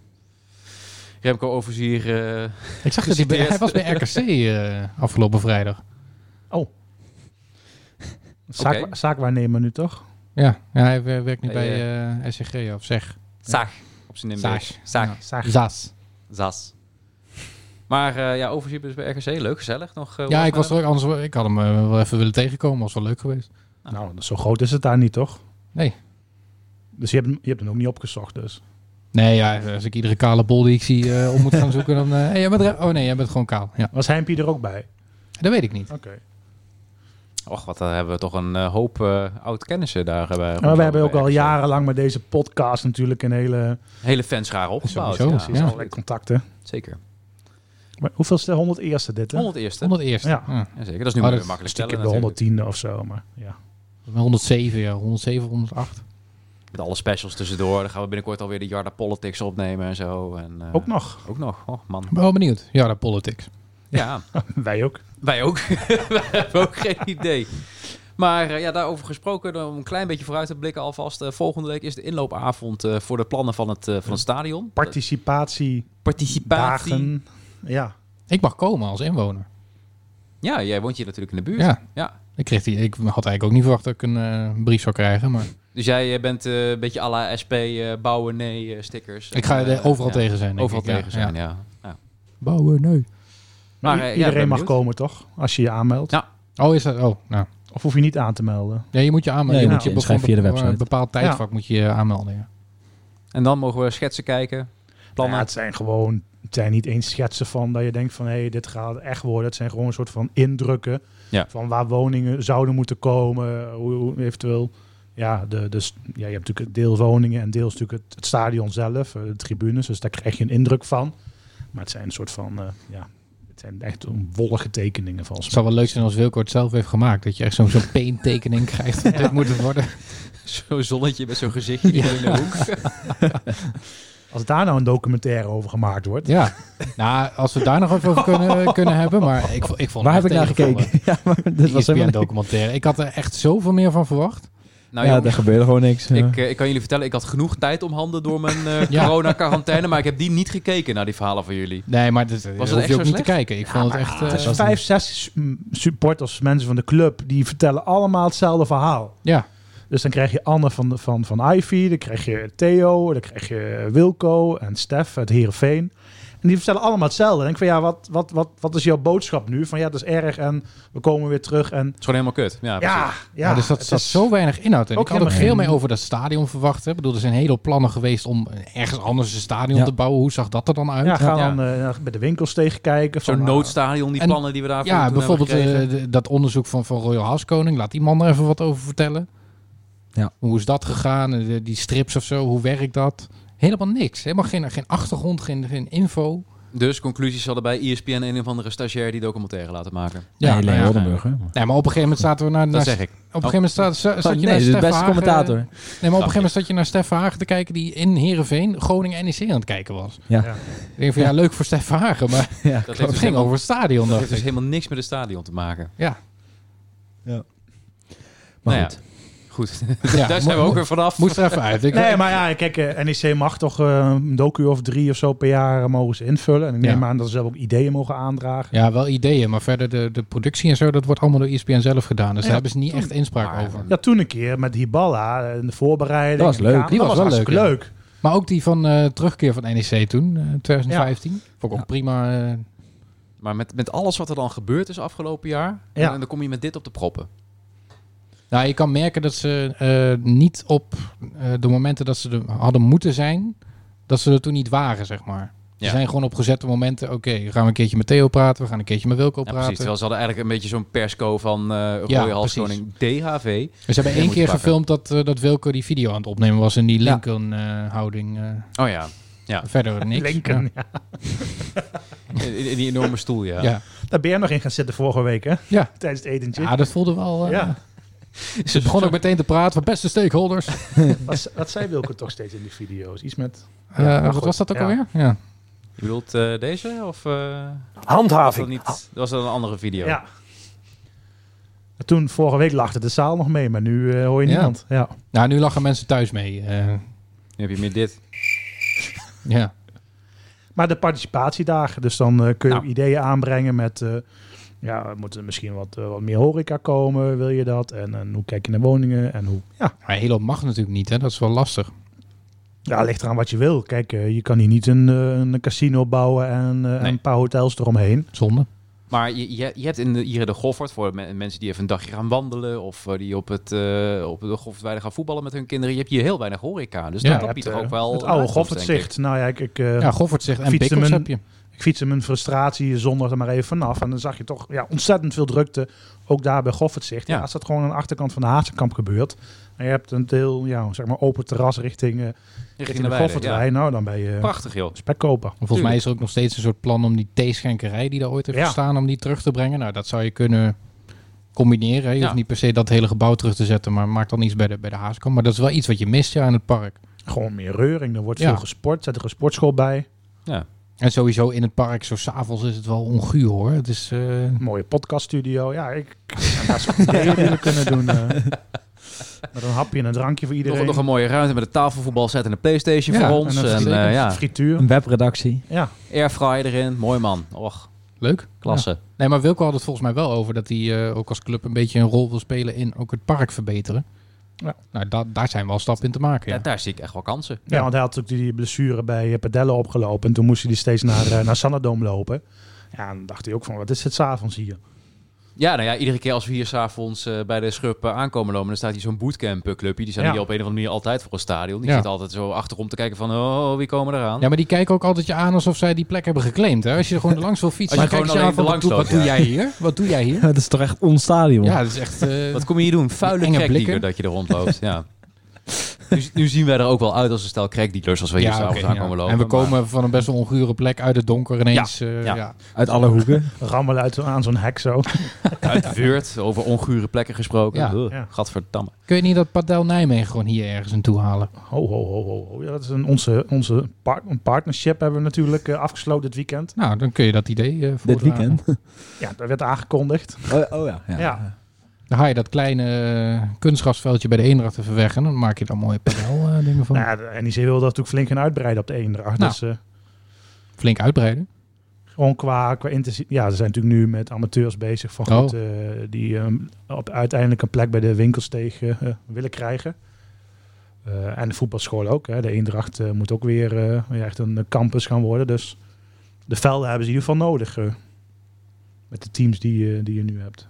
[SPEAKER 2] Remco Overzier, eh,
[SPEAKER 3] Ik zag dat hij, bij- Dus hij was bij RKC eh, afgelopen vrijdag.
[SPEAKER 4] Zaak,
[SPEAKER 2] Oké.
[SPEAKER 4] Zaakwaarnemer nu toch?
[SPEAKER 3] Ja, ja hij wer- werkt nu
[SPEAKER 2] Bij,
[SPEAKER 3] bij eh, SCG of zeg.
[SPEAKER 2] Zag. Op zijn Nimburgs.
[SPEAKER 3] Zaag.
[SPEAKER 2] Zag.
[SPEAKER 3] Ja.
[SPEAKER 4] Zaak.
[SPEAKER 3] Zaas.
[SPEAKER 2] Zas. Maar eh, ja, Overzier is bij RKC. Leuk, gezellig. Nog, eh,
[SPEAKER 3] Ja,
[SPEAKER 2] wat
[SPEAKER 3] ik was
[SPEAKER 2] verder?
[SPEAKER 3] er ook anders. Ik had hem eh, wel even willen tegenkomen. Was wel leuk geweest.
[SPEAKER 4] Nou, zo groot is het daar niet toch?
[SPEAKER 3] Nee.
[SPEAKER 4] Dus je hebt, hem- je hebt hem ook niet opgezocht dus.
[SPEAKER 3] Nee, ja, als ik iedere kale bol die ik zie eh, om moet gaan zoeken, dan. eh hey, jij bent er- oh nee, jij bent gewoon kaal. Ja,
[SPEAKER 4] Was Heimpie er ook bij?
[SPEAKER 3] dat weet ik niet.
[SPEAKER 4] Oké. En
[SPEAKER 2] Och, wat eh, hebben we toch een eh, hoop eh oud-kennissen daar. eh, bij
[SPEAKER 4] Maar
[SPEAKER 2] rondlopen
[SPEAKER 4] we hebben ook
[SPEAKER 2] bij
[SPEAKER 4] al
[SPEAKER 2] RKC.
[SPEAKER 4] jarenlang met deze podcast natuurlijk een hele
[SPEAKER 2] Hele fanschaar opgebouwd.
[SPEAKER 3] Sowieso,
[SPEAKER 2] ja,
[SPEAKER 3] precies.
[SPEAKER 2] absoluut.
[SPEAKER 4] allerlei contacten.
[SPEAKER 2] Zeker.
[SPEAKER 4] Maar hoeveel is de 101ste dit? Hè?
[SPEAKER 2] 100 eerste.
[SPEAKER 3] 101. Ja.
[SPEAKER 4] Ja.
[SPEAKER 3] ja.
[SPEAKER 2] Ja, zeker. Dat is nu
[SPEAKER 3] Maar
[SPEAKER 2] weer
[SPEAKER 3] Oh, dat
[SPEAKER 2] makkelijk
[SPEAKER 4] Stiekem
[SPEAKER 2] stellen
[SPEAKER 4] de 110e of zo, maar ja.
[SPEAKER 3] 107, ja. 107, 108.
[SPEAKER 2] Met alle specials tussendoor. Dan gaan we binnenkort alweer de Jarda Politics opnemen en zo. En, eh,
[SPEAKER 4] Ook nog.
[SPEAKER 2] Ook nog. Oh, man.
[SPEAKER 3] Ik ben wel benieuwd. Ja, dat politics.
[SPEAKER 2] Ja,
[SPEAKER 4] Wij ook.
[SPEAKER 2] wij ook. we hebben ook geen idee. Maar eh, ja, daarover gesproken, om een klein beetje vooruit te blikken alvast. eh, volgende week is de inloopavond eh, voor de plannen van het, eh, van het stadion. Eh,
[SPEAKER 4] Participatiedagen.
[SPEAKER 2] Participatie.
[SPEAKER 4] Ja.
[SPEAKER 3] Ik mag komen als inwoner.
[SPEAKER 2] Ja, jij woont hier natuurlijk in de buurt.
[SPEAKER 3] Ja.
[SPEAKER 2] Ja.
[SPEAKER 3] Ik, kreeg die, ik had eigenlijk ook niet verwacht dat ik een eh, brief zou krijgen. Maar
[SPEAKER 2] Dus jij eh, bent eh, een beetje à la SP, eh, bouwen, nee, eh, stickers.
[SPEAKER 3] ik ga
[SPEAKER 2] En,
[SPEAKER 3] er
[SPEAKER 2] eh,
[SPEAKER 3] overal
[SPEAKER 2] ja,
[SPEAKER 3] tegen zijn. denk
[SPEAKER 2] Overal
[SPEAKER 3] ik, ja.
[SPEAKER 2] tegen zijn,
[SPEAKER 3] Ja.
[SPEAKER 2] ja. Ja.
[SPEAKER 3] Bouwen, nee.
[SPEAKER 4] Maar
[SPEAKER 2] Maar, eh, ja,
[SPEAKER 4] iedereen
[SPEAKER 2] ben
[SPEAKER 4] mag
[SPEAKER 2] benieuwd.
[SPEAKER 4] komen toch? Als je je aanmeldt.
[SPEAKER 2] Ja.
[SPEAKER 3] Oh, is dat? Oh, nou.
[SPEAKER 4] Of hoef je niet aan te melden.
[SPEAKER 3] Ja, je moet je aanmelden.
[SPEAKER 5] Nee,
[SPEAKER 3] je
[SPEAKER 4] nou,
[SPEAKER 3] moet je
[SPEAKER 5] je schrijft
[SPEAKER 3] gewoon
[SPEAKER 5] via de
[SPEAKER 3] een
[SPEAKER 5] website.
[SPEAKER 3] bepaald tijdvak moet je je aanmelden. Ja.
[SPEAKER 2] En dan mogen we schetsen kijken. Plannen.
[SPEAKER 4] Ja, het zijn gewoon... Het zijn niet eens schetsen van dat je denkt van... hé, hey, dit gaat echt worden. Het zijn gewoon een soort van indrukken...
[SPEAKER 2] Ja.
[SPEAKER 4] van waar woningen zouden moeten komen. Hoe, hoe eventueel... Ja, de, dus, ja, je hebt natuurlijk deelwoningen en deels natuurlijk het, het stadion zelf, eh, de tribunes. Dus daar krijg je een indruk van. Maar het zijn een soort van, eh, ja, het zijn echt wollige tekeningen volgens
[SPEAKER 3] Het zou wel leuk zijn als Wilco het zelf heeft gemaakt. Dat je echt zo'n zo'n painttekening krijgt. Dit moet het worden.
[SPEAKER 2] Zo'n zonnetje met zo'n gezichtje in de hoek.
[SPEAKER 4] Als daar nou een documentaire over gemaakt wordt.
[SPEAKER 3] Ja, nou, als we daar nog even over kunnen, kunnen hebben. Maar ik, vo- ik vond
[SPEAKER 5] Waar
[SPEAKER 3] het
[SPEAKER 5] heb ik naar
[SPEAKER 3] echt tegenvallen. E
[SPEAKER 5] gekeken? ja, maar dit
[SPEAKER 3] Dit
[SPEAKER 5] was
[SPEAKER 3] was
[SPEAKER 5] helemaal
[SPEAKER 3] een
[SPEAKER 5] niks.
[SPEAKER 3] documentaire. Ik had er echt zoveel meer van verwacht.
[SPEAKER 2] Nou
[SPEAKER 5] ja,
[SPEAKER 2] jongens,
[SPEAKER 5] daar gebeurde gewoon niks. ja.
[SPEAKER 2] ik, eh, ik kan jullie vertellen, ik had genoeg tijd om handen door mijn eh,
[SPEAKER 3] Ja.
[SPEAKER 2] corona-quarantaine. Maar ik heb die niet gekeken naar die verhalen van jullie.
[SPEAKER 3] Nee, maar dat, dat
[SPEAKER 2] echt
[SPEAKER 3] hoef
[SPEAKER 2] zo
[SPEAKER 3] je ook niet te
[SPEAKER 2] slecht?
[SPEAKER 3] kijken. Ik vond het echt... eh,
[SPEAKER 4] Ah, Het is vijf, zes su- m, supporters, mensen van de club, die vertellen allemaal hetzelfde verhaal.
[SPEAKER 3] ja,
[SPEAKER 4] Dus dan krijg je Anne van, de- van, van Ivy, dan krijg je Theo, dan krijg je Wilco en Stef uit Heerenveen. En die vertellen allemaal hetzelfde. En ik van ja, wat, wat, wat, wat is jouw boodschap nu? Van ja, dat is erg en we komen weer terug. En
[SPEAKER 2] Het is gewoon helemaal kut. Ja,
[SPEAKER 4] ja,
[SPEAKER 2] precies.
[SPEAKER 4] ja,
[SPEAKER 3] dus dat
[SPEAKER 4] het
[SPEAKER 3] zat
[SPEAKER 4] is-
[SPEAKER 3] zo weinig inhoud in.
[SPEAKER 4] ook
[SPEAKER 3] Ik had ook
[SPEAKER 4] helemaal
[SPEAKER 3] veel
[SPEAKER 4] geen-
[SPEAKER 3] meer over dat stadion verwacht. Hè. Ik bedoel, er zijn hele plannen geweest om ergens anders een stadion
[SPEAKER 5] Ja.
[SPEAKER 3] te bouwen. Hoe zag dat er dan uit?
[SPEAKER 4] Ja, ga
[SPEAKER 2] Ja.
[SPEAKER 4] dan eh, bij de winkels tegen kijken.
[SPEAKER 2] Zo'n
[SPEAKER 4] van, eh,
[SPEAKER 2] noodstadion, die
[SPEAKER 3] En-
[SPEAKER 2] plannen die we daarvoor
[SPEAKER 3] Ja,
[SPEAKER 2] toen hebben
[SPEAKER 3] bijvoorbeeld
[SPEAKER 2] gekregen.
[SPEAKER 3] eh, de- dat onderzoek van, van Royal Haskoning. Laat die man er even wat over vertellen.
[SPEAKER 5] Ja.
[SPEAKER 3] Hoe is dat gegaan? Eh, de- die strips of zo, hoe werkt dat? Helemaal niks. Helemaal geen, geen achtergrond, geen, geen info.
[SPEAKER 2] Dus conclusies hadden bij ESPN een of andere stagiair die documentaire laten maken.
[SPEAKER 5] Ja,
[SPEAKER 3] nou
[SPEAKER 5] Helene
[SPEAKER 3] ja.
[SPEAKER 5] Roddenburg, hè.
[SPEAKER 3] Nee, maar op een gegeven moment zaten we naar...
[SPEAKER 2] Dat
[SPEAKER 3] naar
[SPEAKER 2] zeg ik.
[SPEAKER 3] Op een gegeven moment zat, zat, zat
[SPEAKER 5] Oh,
[SPEAKER 3] je
[SPEAKER 5] nee,
[SPEAKER 3] naar
[SPEAKER 5] ze is de
[SPEAKER 3] Stef
[SPEAKER 5] beste
[SPEAKER 3] Hagen-
[SPEAKER 5] commentator.
[SPEAKER 3] Nee, maar op een gegeven moment zat je naar Stef Hagen te kijken... die in Heerenveen Groningen NEC aan het kijken was.
[SPEAKER 5] Ja.
[SPEAKER 4] Ja.
[SPEAKER 3] Ik denk van, ja, leuk voor Stef Hagen, maar
[SPEAKER 5] Ja,
[SPEAKER 2] Dat heeft
[SPEAKER 3] het
[SPEAKER 2] dus
[SPEAKER 3] ging
[SPEAKER 2] helemaal,
[SPEAKER 3] over het stadion,
[SPEAKER 2] dat
[SPEAKER 3] dacht
[SPEAKER 2] heeft dus
[SPEAKER 3] ik.
[SPEAKER 2] helemaal niks met het stadion te maken.
[SPEAKER 3] Ja,
[SPEAKER 5] maar
[SPEAKER 2] Nou ja.
[SPEAKER 5] goed.
[SPEAKER 2] Goed,
[SPEAKER 3] Ja,
[SPEAKER 2] daar zijn we
[SPEAKER 3] mo-
[SPEAKER 2] ook weer vanaf.
[SPEAKER 3] moest er even uit. Ik,
[SPEAKER 4] Nee, maar ja, kijk, eh, NEC mag toch eh, een docu of drie of zo per jaar eh, mogen ze invullen. En ik neem
[SPEAKER 3] Ja.
[SPEAKER 4] aan dat ze zelf ook ideeën mogen aandragen.
[SPEAKER 3] Ja, wel ideeën, maar verder de, de productie en zo, dat wordt allemaal door ESPN zelf gedaan. Dus daar
[SPEAKER 4] Ja,
[SPEAKER 3] hebben ze niet echt inspraak
[SPEAKER 2] Maar-
[SPEAKER 3] over.
[SPEAKER 4] Ja, toen een keer met Hiballa en de voorbereiding.
[SPEAKER 5] Dat was
[SPEAKER 4] en de
[SPEAKER 5] leuk.
[SPEAKER 4] kamer.
[SPEAKER 3] Die
[SPEAKER 4] Dat
[SPEAKER 3] was wel
[SPEAKER 4] hartstikke
[SPEAKER 3] leuk,
[SPEAKER 4] leuk.
[SPEAKER 3] Maar ook die van eh, terugkeer van NEC toen, eh, 2015. Vond ik ook
[SPEAKER 5] Ja.
[SPEAKER 3] prima. eh,
[SPEAKER 2] Maar met, met alles wat er dan gebeurd is afgelopen jaar,
[SPEAKER 4] Ja.
[SPEAKER 2] en dan kom je met dit op de proppen.
[SPEAKER 3] nou, je kan merken dat ze eh, niet op eh, de momenten dat ze er hadden moeten zijn, dat ze er toen niet waren, zeg maar.
[SPEAKER 2] Ja.
[SPEAKER 3] Ze zijn gewoon op gezette momenten. Oké, we gaan een keertje met Theo praten. We gaan een keertje met Wilco
[SPEAKER 2] Ja, precies.
[SPEAKER 3] praten.
[SPEAKER 2] Terwijl ze hadden eigenlijk een beetje zo'n persco van eh Royal Halskoning DHV.
[SPEAKER 3] Dus Ze hebben één
[SPEAKER 2] moet je
[SPEAKER 3] keer
[SPEAKER 2] pakken.
[SPEAKER 3] gefilmd dat, eh, dat Wilco die video aan het opnemen was. In die
[SPEAKER 5] Ja.
[SPEAKER 3] Lincoln-houding. eh,
[SPEAKER 2] Oh ja,
[SPEAKER 3] Verder niks.
[SPEAKER 4] Lincoln,
[SPEAKER 3] Ja.
[SPEAKER 4] ja.
[SPEAKER 2] in, in die enorme stoel, ja.
[SPEAKER 3] Ja.
[SPEAKER 4] Daar ben jij nog in gaan zitten vorige week, hè?
[SPEAKER 3] Ja.
[SPEAKER 4] Tijdens het etentje.
[SPEAKER 3] Ja, dat voelde wel... eh,
[SPEAKER 4] Ja.
[SPEAKER 3] Ze begon ook meteen te praten van beste stakeholders.
[SPEAKER 4] Wat, wat zei Wilco toch steeds in die video's? Iets met...
[SPEAKER 3] Eh,
[SPEAKER 4] maar
[SPEAKER 3] wat
[SPEAKER 4] goed,
[SPEAKER 3] was dat ook
[SPEAKER 4] ja.
[SPEAKER 3] alweer? Ja.
[SPEAKER 2] Je bedoelt eh, deze? Of eh, was dat
[SPEAKER 6] Handhaving.
[SPEAKER 2] niet? Was dat een andere video?
[SPEAKER 4] Ja. Toen, vorige week lachte de zaal nog mee, maar nu eh, hoor je
[SPEAKER 3] Ja.
[SPEAKER 4] niemand. Ja.
[SPEAKER 3] Nou, nu lachen mensen thuis mee. eh,
[SPEAKER 2] Nu heb je meer dit.
[SPEAKER 3] ja.
[SPEAKER 4] Maar de participatiedagen, dus dan eh, kun je
[SPEAKER 2] Nou.
[SPEAKER 4] ook ideeën aanbrengen met... eh, ja, er moeten misschien wat, eh, wat meer horeca komen, wil je dat? En, en hoe kijk je naar woningen? En hoe... Ja,
[SPEAKER 3] Maar Helo mag natuurlijk niet, hè? dat is wel lastig.
[SPEAKER 4] Ja, ligt eraan wat je wil. Kijk, eh, je kan hier niet een, eh, een casino bouwen en, eh, en
[SPEAKER 2] Nee.
[SPEAKER 4] een paar hotels eromheen.
[SPEAKER 3] Zonde.
[SPEAKER 2] Maar je, je, je hebt in de, hier de Goffert voor me- mensen die even een dagje gaan wandelen. Of eh, die op, het, eh op de Goffertweide gaan voetballen met hun kinderen. Je hebt hier heel weinig horeca. Dus
[SPEAKER 3] Ja,
[SPEAKER 2] dat
[SPEAKER 4] Je
[SPEAKER 2] dat
[SPEAKER 4] hebt,
[SPEAKER 2] biedt er
[SPEAKER 4] eh,
[SPEAKER 2] ook wel...
[SPEAKER 4] Het
[SPEAKER 2] een
[SPEAKER 4] oude
[SPEAKER 2] uitkomst, denk ik.
[SPEAKER 4] Goffertzicht. Nou ja, ik, ik, eh,
[SPEAKER 3] Ja, Goffert zegt, en
[SPEAKER 4] Fietsen
[SPEAKER 3] pikkels
[SPEAKER 4] men-
[SPEAKER 3] heb je.
[SPEAKER 4] ik fietste mijn frustratie zondag er maar even vanaf. En dan zag je toch ja, ontzettend veel drukte, ook daar bij Goffertzicht. Ja.
[SPEAKER 2] Ja.
[SPEAKER 4] als dat gewoon aan de achterkant van de Haarsenkamp gebeurt... en je hebt een deel, ja, zeg maar open terras richting, eh,
[SPEAKER 2] Richting
[SPEAKER 4] richting
[SPEAKER 2] de
[SPEAKER 4] de
[SPEAKER 2] Weide, ja.
[SPEAKER 4] Goffertwijn. Nou, dan ben je
[SPEAKER 2] Prachtig, joh.
[SPEAKER 4] spekkoper.
[SPEAKER 3] Volgens mij is er ook nog steeds een soort plan om die theeschenkerij die daar ooit heeft
[SPEAKER 4] Ja.
[SPEAKER 3] gestaan, om die terug te brengen. Nou, dat zou je kunnen combineren. hè. Je
[SPEAKER 2] Ja.
[SPEAKER 3] hoeft niet per se dat hele gebouw terug te zetten, maar maak dan iets bij de, bij de haaskamp. Maar dat is wel iets wat je mist ja, in het park.
[SPEAKER 4] Gewoon meer reuring, er wordt
[SPEAKER 3] Ja.
[SPEAKER 4] veel gesport. Zet er een sportschool bij.
[SPEAKER 3] En sowieso in het park, zo s'avonds is het wel onguur hoor. Het is, eh,
[SPEAKER 4] Een mooie podcaststudio. Ja, ik en dat soort ideeën willen kunnen doen. eh. met een hapje en een drankje voor
[SPEAKER 2] Nog,
[SPEAKER 4] iedereen.
[SPEAKER 2] nog een mooie ruimte met een tafelvoetbalset en een Playstation
[SPEAKER 3] Ja,
[SPEAKER 2] voor ons.
[SPEAKER 4] en een
[SPEAKER 2] En,
[SPEAKER 4] frituur.
[SPEAKER 2] eh, ja,
[SPEAKER 4] frituur.
[SPEAKER 5] Een webredactie.
[SPEAKER 4] Ja,
[SPEAKER 2] airfryer erin. Mooi man. Och,
[SPEAKER 3] leuk.
[SPEAKER 2] klasse.
[SPEAKER 3] Ja. Nee, maar Wilco had het volgens mij wel over dat hij eh, ook als club een beetje een rol wil spelen in ook het park verbeteren.
[SPEAKER 4] Ja.
[SPEAKER 3] Nou, da- daar zijn wel stappen in te maken.
[SPEAKER 2] Ja,
[SPEAKER 3] Ja.
[SPEAKER 2] daar zie ik echt wel kansen.
[SPEAKER 4] ja. want hij had natuurlijk die blessure bij eh, Padella opgelopen. En toen moest hij die steeds naar, eh, naar Sanadome lopen. Ja, en dan dacht hij ook van, wat is het s'avonds hier?
[SPEAKER 2] Ja, nou ja, iedere keer als we hier s'avonds eh bij de schub eh, aankomen lopen, dan staat hier zo'n bootcamp-clubje. Die zijn
[SPEAKER 4] Ja.
[SPEAKER 2] hier op een of andere manier altijd voor een stadion. Die
[SPEAKER 3] Ja.
[SPEAKER 2] zit altijd zo achterom te kijken van, oh, wie komen eraan?
[SPEAKER 3] Ja, maar die kijken ook altijd je aan alsof zij die plek hebben geclaimd. Hè? Als je er gewoon langs wil fietsen,
[SPEAKER 2] Als je
[SPEAKER 3] dan
[SPEAKER 2] gewoon
[SPEAKER 3] kijken ze aan
[SPEAKER 2] alleen
[SPEAKER 3] van, wat, doe,
[SPEAKER 2] langs
[SPEAKER 3] wat
[SPEAKER 2] loopt,
[SPEAKER 3] doe jij hier? Wat doe jij hier?
[SPEAKER 5] Het is toch echt ons stadion?
[SPEAKER 3] Ja, dat is echt... eh,
[SPEAKER 2] Wat kom je hier doen? Vuile
[SPEAKER 3] enge
[SPEAKER 2] crackdealer
[SPEAKER 3] blikken.
[SPEAKER 2] dat je er rondloopt. ja. nu, nu zien wij er ook wel uit als een stel crackdealers als we hier
[SPEAKER 3] Ja,
[SPEAKER 2] s'avonds
[SPEAKER 3] oké, ja.
[SPEAKER 2] aankomen lopen.
[SPEAKER 3] En we
[SPEAKER 2] maar-
[SPEAKER 3] komen van een best wel ongure plek uit het donker ineens. eh,
[SPEAKER 2] ja.
[SPEAKER 3] ja.
[SPEAKER 5] Uit alle hoeken.
[SPEAKER 4] Rammelen uit, aan zo'n hek zo.
[SPEAKER 2] uit Weert, over ongure plekken gesproken.
[SPEAKER 3] Ja.
[SPEAKER 2] Huh,
[SPEAKER 4] Ja.
[SPEAKER 2] Gadverdamme.
[SPEAKER 3] Kun je niet dat Padel Nijmegen gewoon hier ergens naartoe halen?
[SPEAKER 4] Ho, ho, ho, ho. ho. Ja, dat is een, onze, onze par- een partnership hebben we natuurlijk eh, afgesloten dit weekend.
[SPEAKER 3] Nou, dan kun je dat idee eh
[SPEAKER 5] Dit
[SPEAKER 3] voordragen.
[SPEAKER 5] weekend.
[SPEAKER 4] Ja, dat werd aangekondigd.
[SPEAKER 5] Oh, oh ja. ja.
[SPEAKER 4] Ja.
[SPEAKER 3] Dan ga je dat kleine eh, kunstgrasveldje bij de Eendracht even weg en dan maak je daar mooie padel eh, dingen van.
[SPEAKER 4] Nou, ja, de NEC wil dat natuurlijk flink gaan uitbreiden op de Eendracht.
[SPEAKER 3] Nou.
[SPEAKER 4] Dus eh,
[SPEAKER 3] Flink uitbreiden.
[SPEAKER 4] Gewoon qua, qua intensie. Ja, ze zijn natuurlijk nu met amateurs bezig. Van
[SPEAKER 3] Oh.
[SPEAKER 4] goed, eh, die ehm, op, uiteindelijk een plek bij de winkelsteeg eh, willen krijgen. Eh, en de voetbalschool ook. Hè. De Eendracht eh, moet ook weer eh, ja, echt een eh, campus gaan worden. Dus de velden hebben ze in ieder geval nodig. eh, met de teams die, eh, die je nu hebt.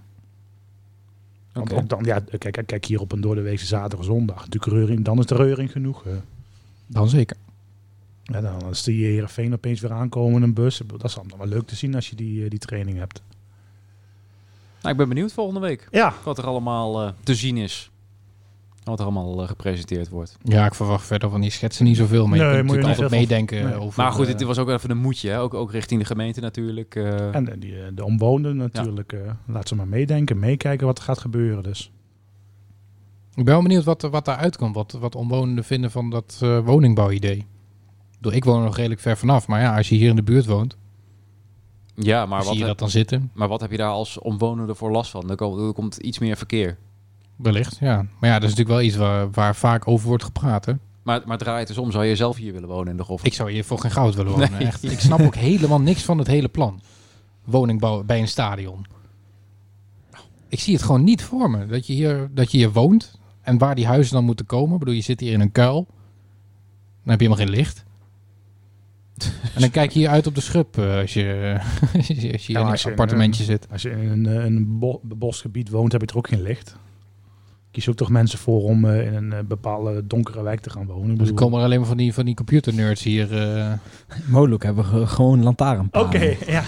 [SPEAKER 4] Want
[SPEAKER 2] Oké.
[SPEAKER 4] ook dan, ja, kijk, kijk hier op een doordeweekse zaterdag, zondag. Natuurlijk reuring, dan is de reuring genoeg. eh.
[SPEAKER 3] Dan zeker.
[SPEAKER 4] Ja, dan als die Heerenveen opeens weer aankomen in een bus. Dat is allemaal wel leuk te zien als je die, eh, die training hebt.
[SPEAKER 2] Nou, ik ben benieuwd volgende week
[SPEAKER 4] Ja,
[SPEAKER 2] wat er allemaal eh, te zien is. Wat er allemaal eh, gepresenteerd wordt.
[SPEAKER 3] Ja, ik verwacht verder van die schetsen niet zoveel. Maar
[SPEAKER 4] Nee,
[SPEAKER 3] je kunt
[SPEAKER 4] moet je
[SPEAKER 3] natuurlijk
[SPEAKER 4] niet
[SPEAKER 3] altijd
[SPEAKER 4] veel
[SPEAKER 3] meedenken
[SPEAKER 4] Nee.
[SPEAKER 3] over...
[SPEAKER 2] Maar goed,
[SPEAKER 3] eh,
[SPEAKER 2] dit was ook even een moedje, hè? Ook, ook richting de gemeente natuurlijk. eh.
[SPEAKER 4] en eh, die, eh, de omwonenden natuurlijk. eh, laat ze maar meedenken, meekijken wat er gaat gebeuren. Dus.
[SPEAKER 3] Ik ben wel benieuwd wat, er- wat daaruit komt. Wat, wat omwonenden vinden van dat eh, woningbouwidee. Ik, bedoel, ik woon er nog redelijk ver vanaf. Maar ja, als je hier in de buurt woont,
[SPEAKER 2] ja, maar
[SPEAKER 3] zie
[SPEAKER 2] wat,
[SPEAKER 3] je
[SPEAKER 2] heb,
[SPEAKER 3] dat dan zitten.
[SPEAKER 2] maar wat heb je daar als omwonende voor last van? Er komt, er komt iets meer verkeer.
[SPEAKER 3] Wellicht, ja. Maar ja, dat is natuurlijk wel iets waar, waar vaak over wordt gepraat. Hè?
[SPEAKER 2] Maar, maar draai het eens om. Zou je zelf hier willen wonen in de Goffert?
[SPEAKER 3] Ik zou hier voor geen goud willen wonen.
[SPEAKER 2] Nee.
[SPEAKER 3] Echt. Ik snap ook helemaal niks van het hele plan. Woningbouw bij een stadion. Ik zie het gewoon niet voor me. Dat je hier, dat je hier woont en waar die huizen dan moeten komen. Ik bedoel, je zit hier in een kuil. Dan heb je helemaal geen licht. En dan kijk je hier uit op de schub eh, als je, als je als je hier
[SPEAKER 4] Ja,
[SPEAKER 3] in
[SPEAKER 4] als
[SPEAKER 3] een
[SPEAKER 4] je-
[SPEAKER 3] appartementje zit. Dus
[SPEAKER 4] Als je in een, eh, een bo- bosgebied woont, heb je er ook geen licht. kies ook toch mensen voor om eh, in een eh, bepaalde donkere wijk te gaan wonen. Ik
[SPEAKER 3] Dus er
[SPEAKER 4] bedoel-
[SPEAKER 3] komen er alleen maar van die, van die computernerds hier. eh.
[SPEAKER 5] Mogelijk hebben we ge- gewoon lantaarnpalen.
[SPEAKER 4] Oké, ja.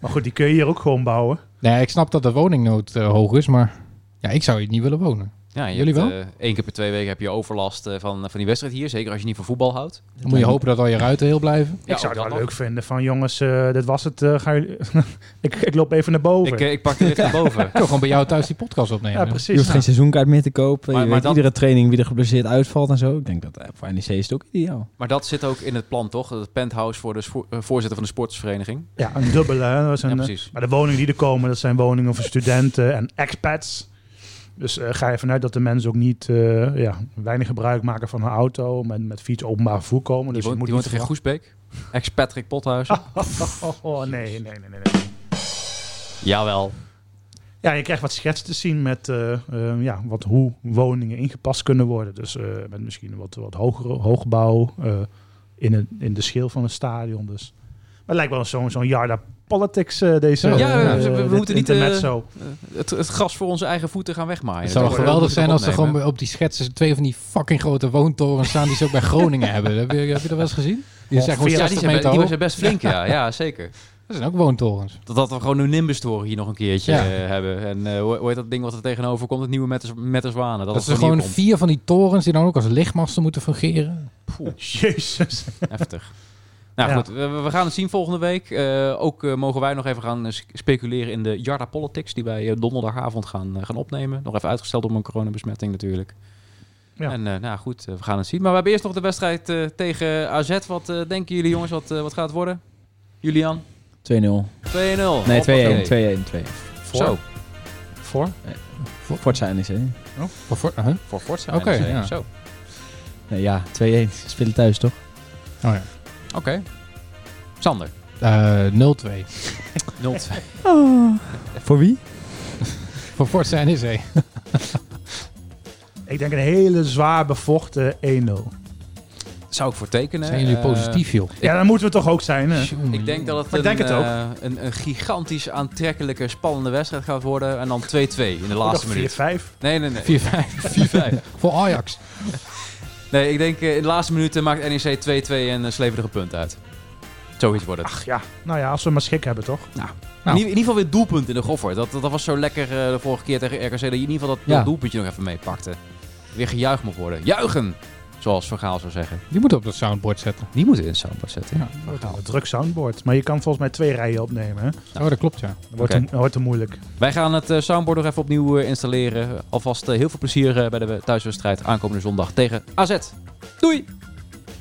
[SPEAKER 4] maar goed, die kun je hier ook gewoon bouwen.
[SPEAKER 3] Nee, ik snap dat de woningnood eh, hoog is, maar ja, ik zou hier niet willen wonen.
[SPEAKER 2] Ja, je
[SPEAKER 3] Jullie
[SPEAKER 2] hebt,
[SPEAKER 3] wel?
[SPEAKER 2] eh, één keer per twee weken heb je overlast eh, van, van die wedstrijd hier. Zeker als je niet van voetbal houdt.
[SPEAKER 3] Dan moet je hopen dat al je ruiten heel blijven.
[SPEAKER 2] Ja,
[SPEAKER 4] ik zou
[SPEAKER 2] ook
[SPEAKER 4] het wel
[SPEAKER 2] dat
[SPEAKER 4] leuk
[SPEAKER 2] nog.
[SPEAKER 4] vinden van jongens, eh dit was het. eh, gaan jullie... ik, ik loop even naar boven.
[SPEAKER 2] Ik, eh, ik pak de lift naar boven.
[SPEAKER 3] Ik wil gewoon bij jou thuis die podcast opnemen.
[SPEAKER 4] ja,
[SPEAKER 5] Je hoeft
[SPEAKER 4] precies.
[SPEAKER 5] geen seizoenkaart meer te kopen.
[SPEAKER 2] Maar-
[SPEAKER 5] je
[SPEAKER 2] maar
[SPEAKER 5] weet
[SPEAKER 2] dat-
[SPEAKER 5] iedere training wie er geblesseerd uitvalt en zo. Ik denk dat eh, voor NEC is het ook ideaal.
[SPEAKER 2] Maar dat zit ook in het plan, toch? Het penthouse voor de spo- eh, voorzitter van de sportsvereniging.
[SPEAKER 4] Ja, een dubbele. Hè. Dat is een,
[SPEAKER 2] Ja,
[SPEAKER 4] eh,
[SPEAKER 2] precies.
[SPEAKER 4] Maar de woningen die er komen, dat zijn woningen voor studenten en expats. Dus eh, ga je vanuit dat de mensen ook niet eh, ja, weinig gebruik maken van hun auto, met, met fiets openbaar vervoer komen.
[SPEAKER 2] Die
[SPEAKER 4] Dus
[SPEAKER 2] woont,
[SPEAKER 4] je
[SPEAKER 2] die woont
[SPEAKER 4] moet
[SPEAKER 2] er in
[SPEAKER 4] niet
[SPEAKER 2] Goesbeek. Ex-Patrick Pothuizen.
[SPEAKER 4] verwachten- Oh, oh, nee, nee, nee, nee, nee.
[SPEAKER 2] Jawel.
[SPEAKER 4] Ja, je krijgt wat schets te zien met eh, eh, ja, wat, hoe woningen ingepast kunnen worden. Dus eh, met misschien wat, wat hogere hoogbouw eh, in, een, in de schil van een stadion. Dus. Maar het lijkt wel zo'n zo'n Jarda Politics eh, deze.
[SPEAKER 3] Ja,
[SPEAKER 4] eh,
[SPEAKER 3] we-
[SPEAKER 2] we
[SPEAKER 4] dit
[SPEAKER 2] moeten niet, eh,
[SPEAKER 4] intermezzo.
[SPEAKER 2] Eh, Het, het gras voor onze eigen voeten gaan wegmaaien.
[SPEAKER 3] Het zou
[SPEAKER 2] Dat
[SPEAKER 3] wel
[SPEAKER 2] moet-
[SPEAKER 3] geweldig
[SPEAKER 2] dat moet
[SPEAKER 3] zijn
[SPEAKER 2] ik
[SPEAKER 3] als er
[SPEAKER 2] opnemen.
[SPEAKER 3] gewoon op die schetsen twee van die fucking grote woontorens staan die ze ook bij Groningen hebben. Heb je, heb je dat wel eens gezien? Die zijn gewoon
[SPEAKER 4] Ja,
[SPEAKER 2] Ja,
[SPEAKER 3] 60
[SPEAKER 2] die zijn, be-
[SPEAKER 3] meter
[SPEAKER 2] die
[SPEAKER 3] hoog.
[SPEAKER 2] zijn best flink, ja. Ja, zeker.
[SPEAKER 3] Dat zijn ook woontorens.
[SPEAKER 2] Dat, dat we gewoon een Nimbus-toren hier nog een keertje
[SPEAKER 3] Ja.
[SPEAKER 2] eh, hebben. En eh, hoe, hoe heet dat ding wat er tegenover komt? Het nieuwe met de, met de zwanen. Dat,
[SPEAKER 3] Dat
[SPEAKER 2] is
[SPEAKER 3] zijn gewoon vier van die torens die dan ook als lichtmasten moeten fungeren.
[SPEAKER 2] eh,
[SPEAKER 4] Jezus.
[SPEAKER 2] Heftig. Nou
[SPEAKER 4] Ja.
[SPEAKER 2] goed, we, we gaan het zien volgende week. Eh, ook eh, mogen wij nog even gaan eh, sp- speculeren in de Jarda Politics... die wij eh, donderdagavond gaan, eh, gaan opnemen. Nog even uitgesteld om een coronabesmetting natuurlijk.
[SPEAKER 4] Ja.
[SPEAKER 2] En eh, nou goed, eh, we gaan het zien. Maar we hebben eerst nog de wedstrijd eh, tegen AZ. Wat eh, denken jullie jongens, wat, eh, wat gaat het worden? Julian,
[SPEAKER 5] 2-0.
[SPEAKER 2] 2-0.
[SPEAKER 5] Nee,
[SPEAKER 2] Hoppakee.
[SPEAKER 5] 2-1. 2-1. 2-1.
[SPEAKER 2] Zo,
[SPEAKER 4] Voor?
[SPEAKER 5] Voor Forza E NEC.
[SPEAKER 3] Voor- voor- huh?
[SPEAKER 2] voor Forza.
[SPEAKER 3] Oké,
[SPEAKER 2] NEC.
[SPEAKER 3] ja.
[SPEAKER 2] Zo.
[SPEAKER 5] Nee, ja, 2-1. Ze Spelen thuis, toch?
[SPEAKER 3] Oh ja.
[SPEAKER 2] Oké. Sander.
[SPEAKER 3] Eh, 0-2.
[SPEAKER 2] 0-2.
[SPEAKER 5] Voor wie?
[SPEAKER 3] Voor Forza NEC.
[SPEAKER 4] Ik denk een hele zwaar bevochten 1-0.
[SPEAKER 2] Zou ik voor tekenen.
[SPEAKER 3] Zijn jullie
[SPEAKER 2] Eh,
[SPEAKER 3] positief, joh?
[SPEAKER 4] Ja, dan moeten we toch ook zijn. Hè?
[SPEAKER 2] ik denk
[SPEAKER 3] Mm.
[SPEAKER 2] dat het,
[SPEAKER 4] Maar
[SPEAKER 2] een,
[SPEAKER 4] ik denk het ook.
[SPEAKER 2] eh, een, een gigantisch aantrekkelijke, spannende wedstrijd gaat worden. En dan 2-2 in de laatste
[SPEAKER 4] Laatste
[SPEAKER 2] minuut.
[SPEAKER 4] 4-5.
[SPEAKER 2] Nee, nee, nee.
[SPEAKER 3] 4-5.
[SPEAKER 2] 4-5.
[SPEAKER 3] Voor Ajax.
[SPEAKER 2] Nee, ik denk eh, in de laatste minuten maakt NEC 2-2 en eh, slepen er een punt uit. Zoiets wordt het.
[SPEAKER 4] Ach ja, nou ja, als we maar schik hebben toch?
[SPEAKER 2] In, ieder- in ieder geval weer doelpunt in de goffer. Dat, dat, dat was zo lekker eh, de vorige keer tegen RKC. Dat je in ieder geval dat, dat
[SPEAKER 5] Ja.
[SPEAKER 2] doelpuntje nog even meepakte. Weer gejuicht mocht worden. Juichen! Zoals Van Gaal zou zeggen.
[SPEAKER 3] Die moeten op dat soundboard zetten.
[SPEAKER 2] Die moeten in het soundboard zetten.
[SPEAKER 3] Ja.
[SPEAKER 2] Van Gaal.
[SPEAKER 4] Een druk soundboard. Maar je kan volgens mij twee rijen opnemen. Hè?
[SPEAKER 3] Oh, dat klopt, ja.
[SPEAKER 4] Dat wordt,
[SPEAKER 2] Oké.
[SPEAKER 4] te, dat wordt te moeilijk.
[SPEAKER 2] Wij gaan het eh, soundboard nog even opnieuw eh, installeren. Alvast eh, heel veel plezier eh, bij de thuiswedstrijd aankomende zondag tegen AZ. Doei!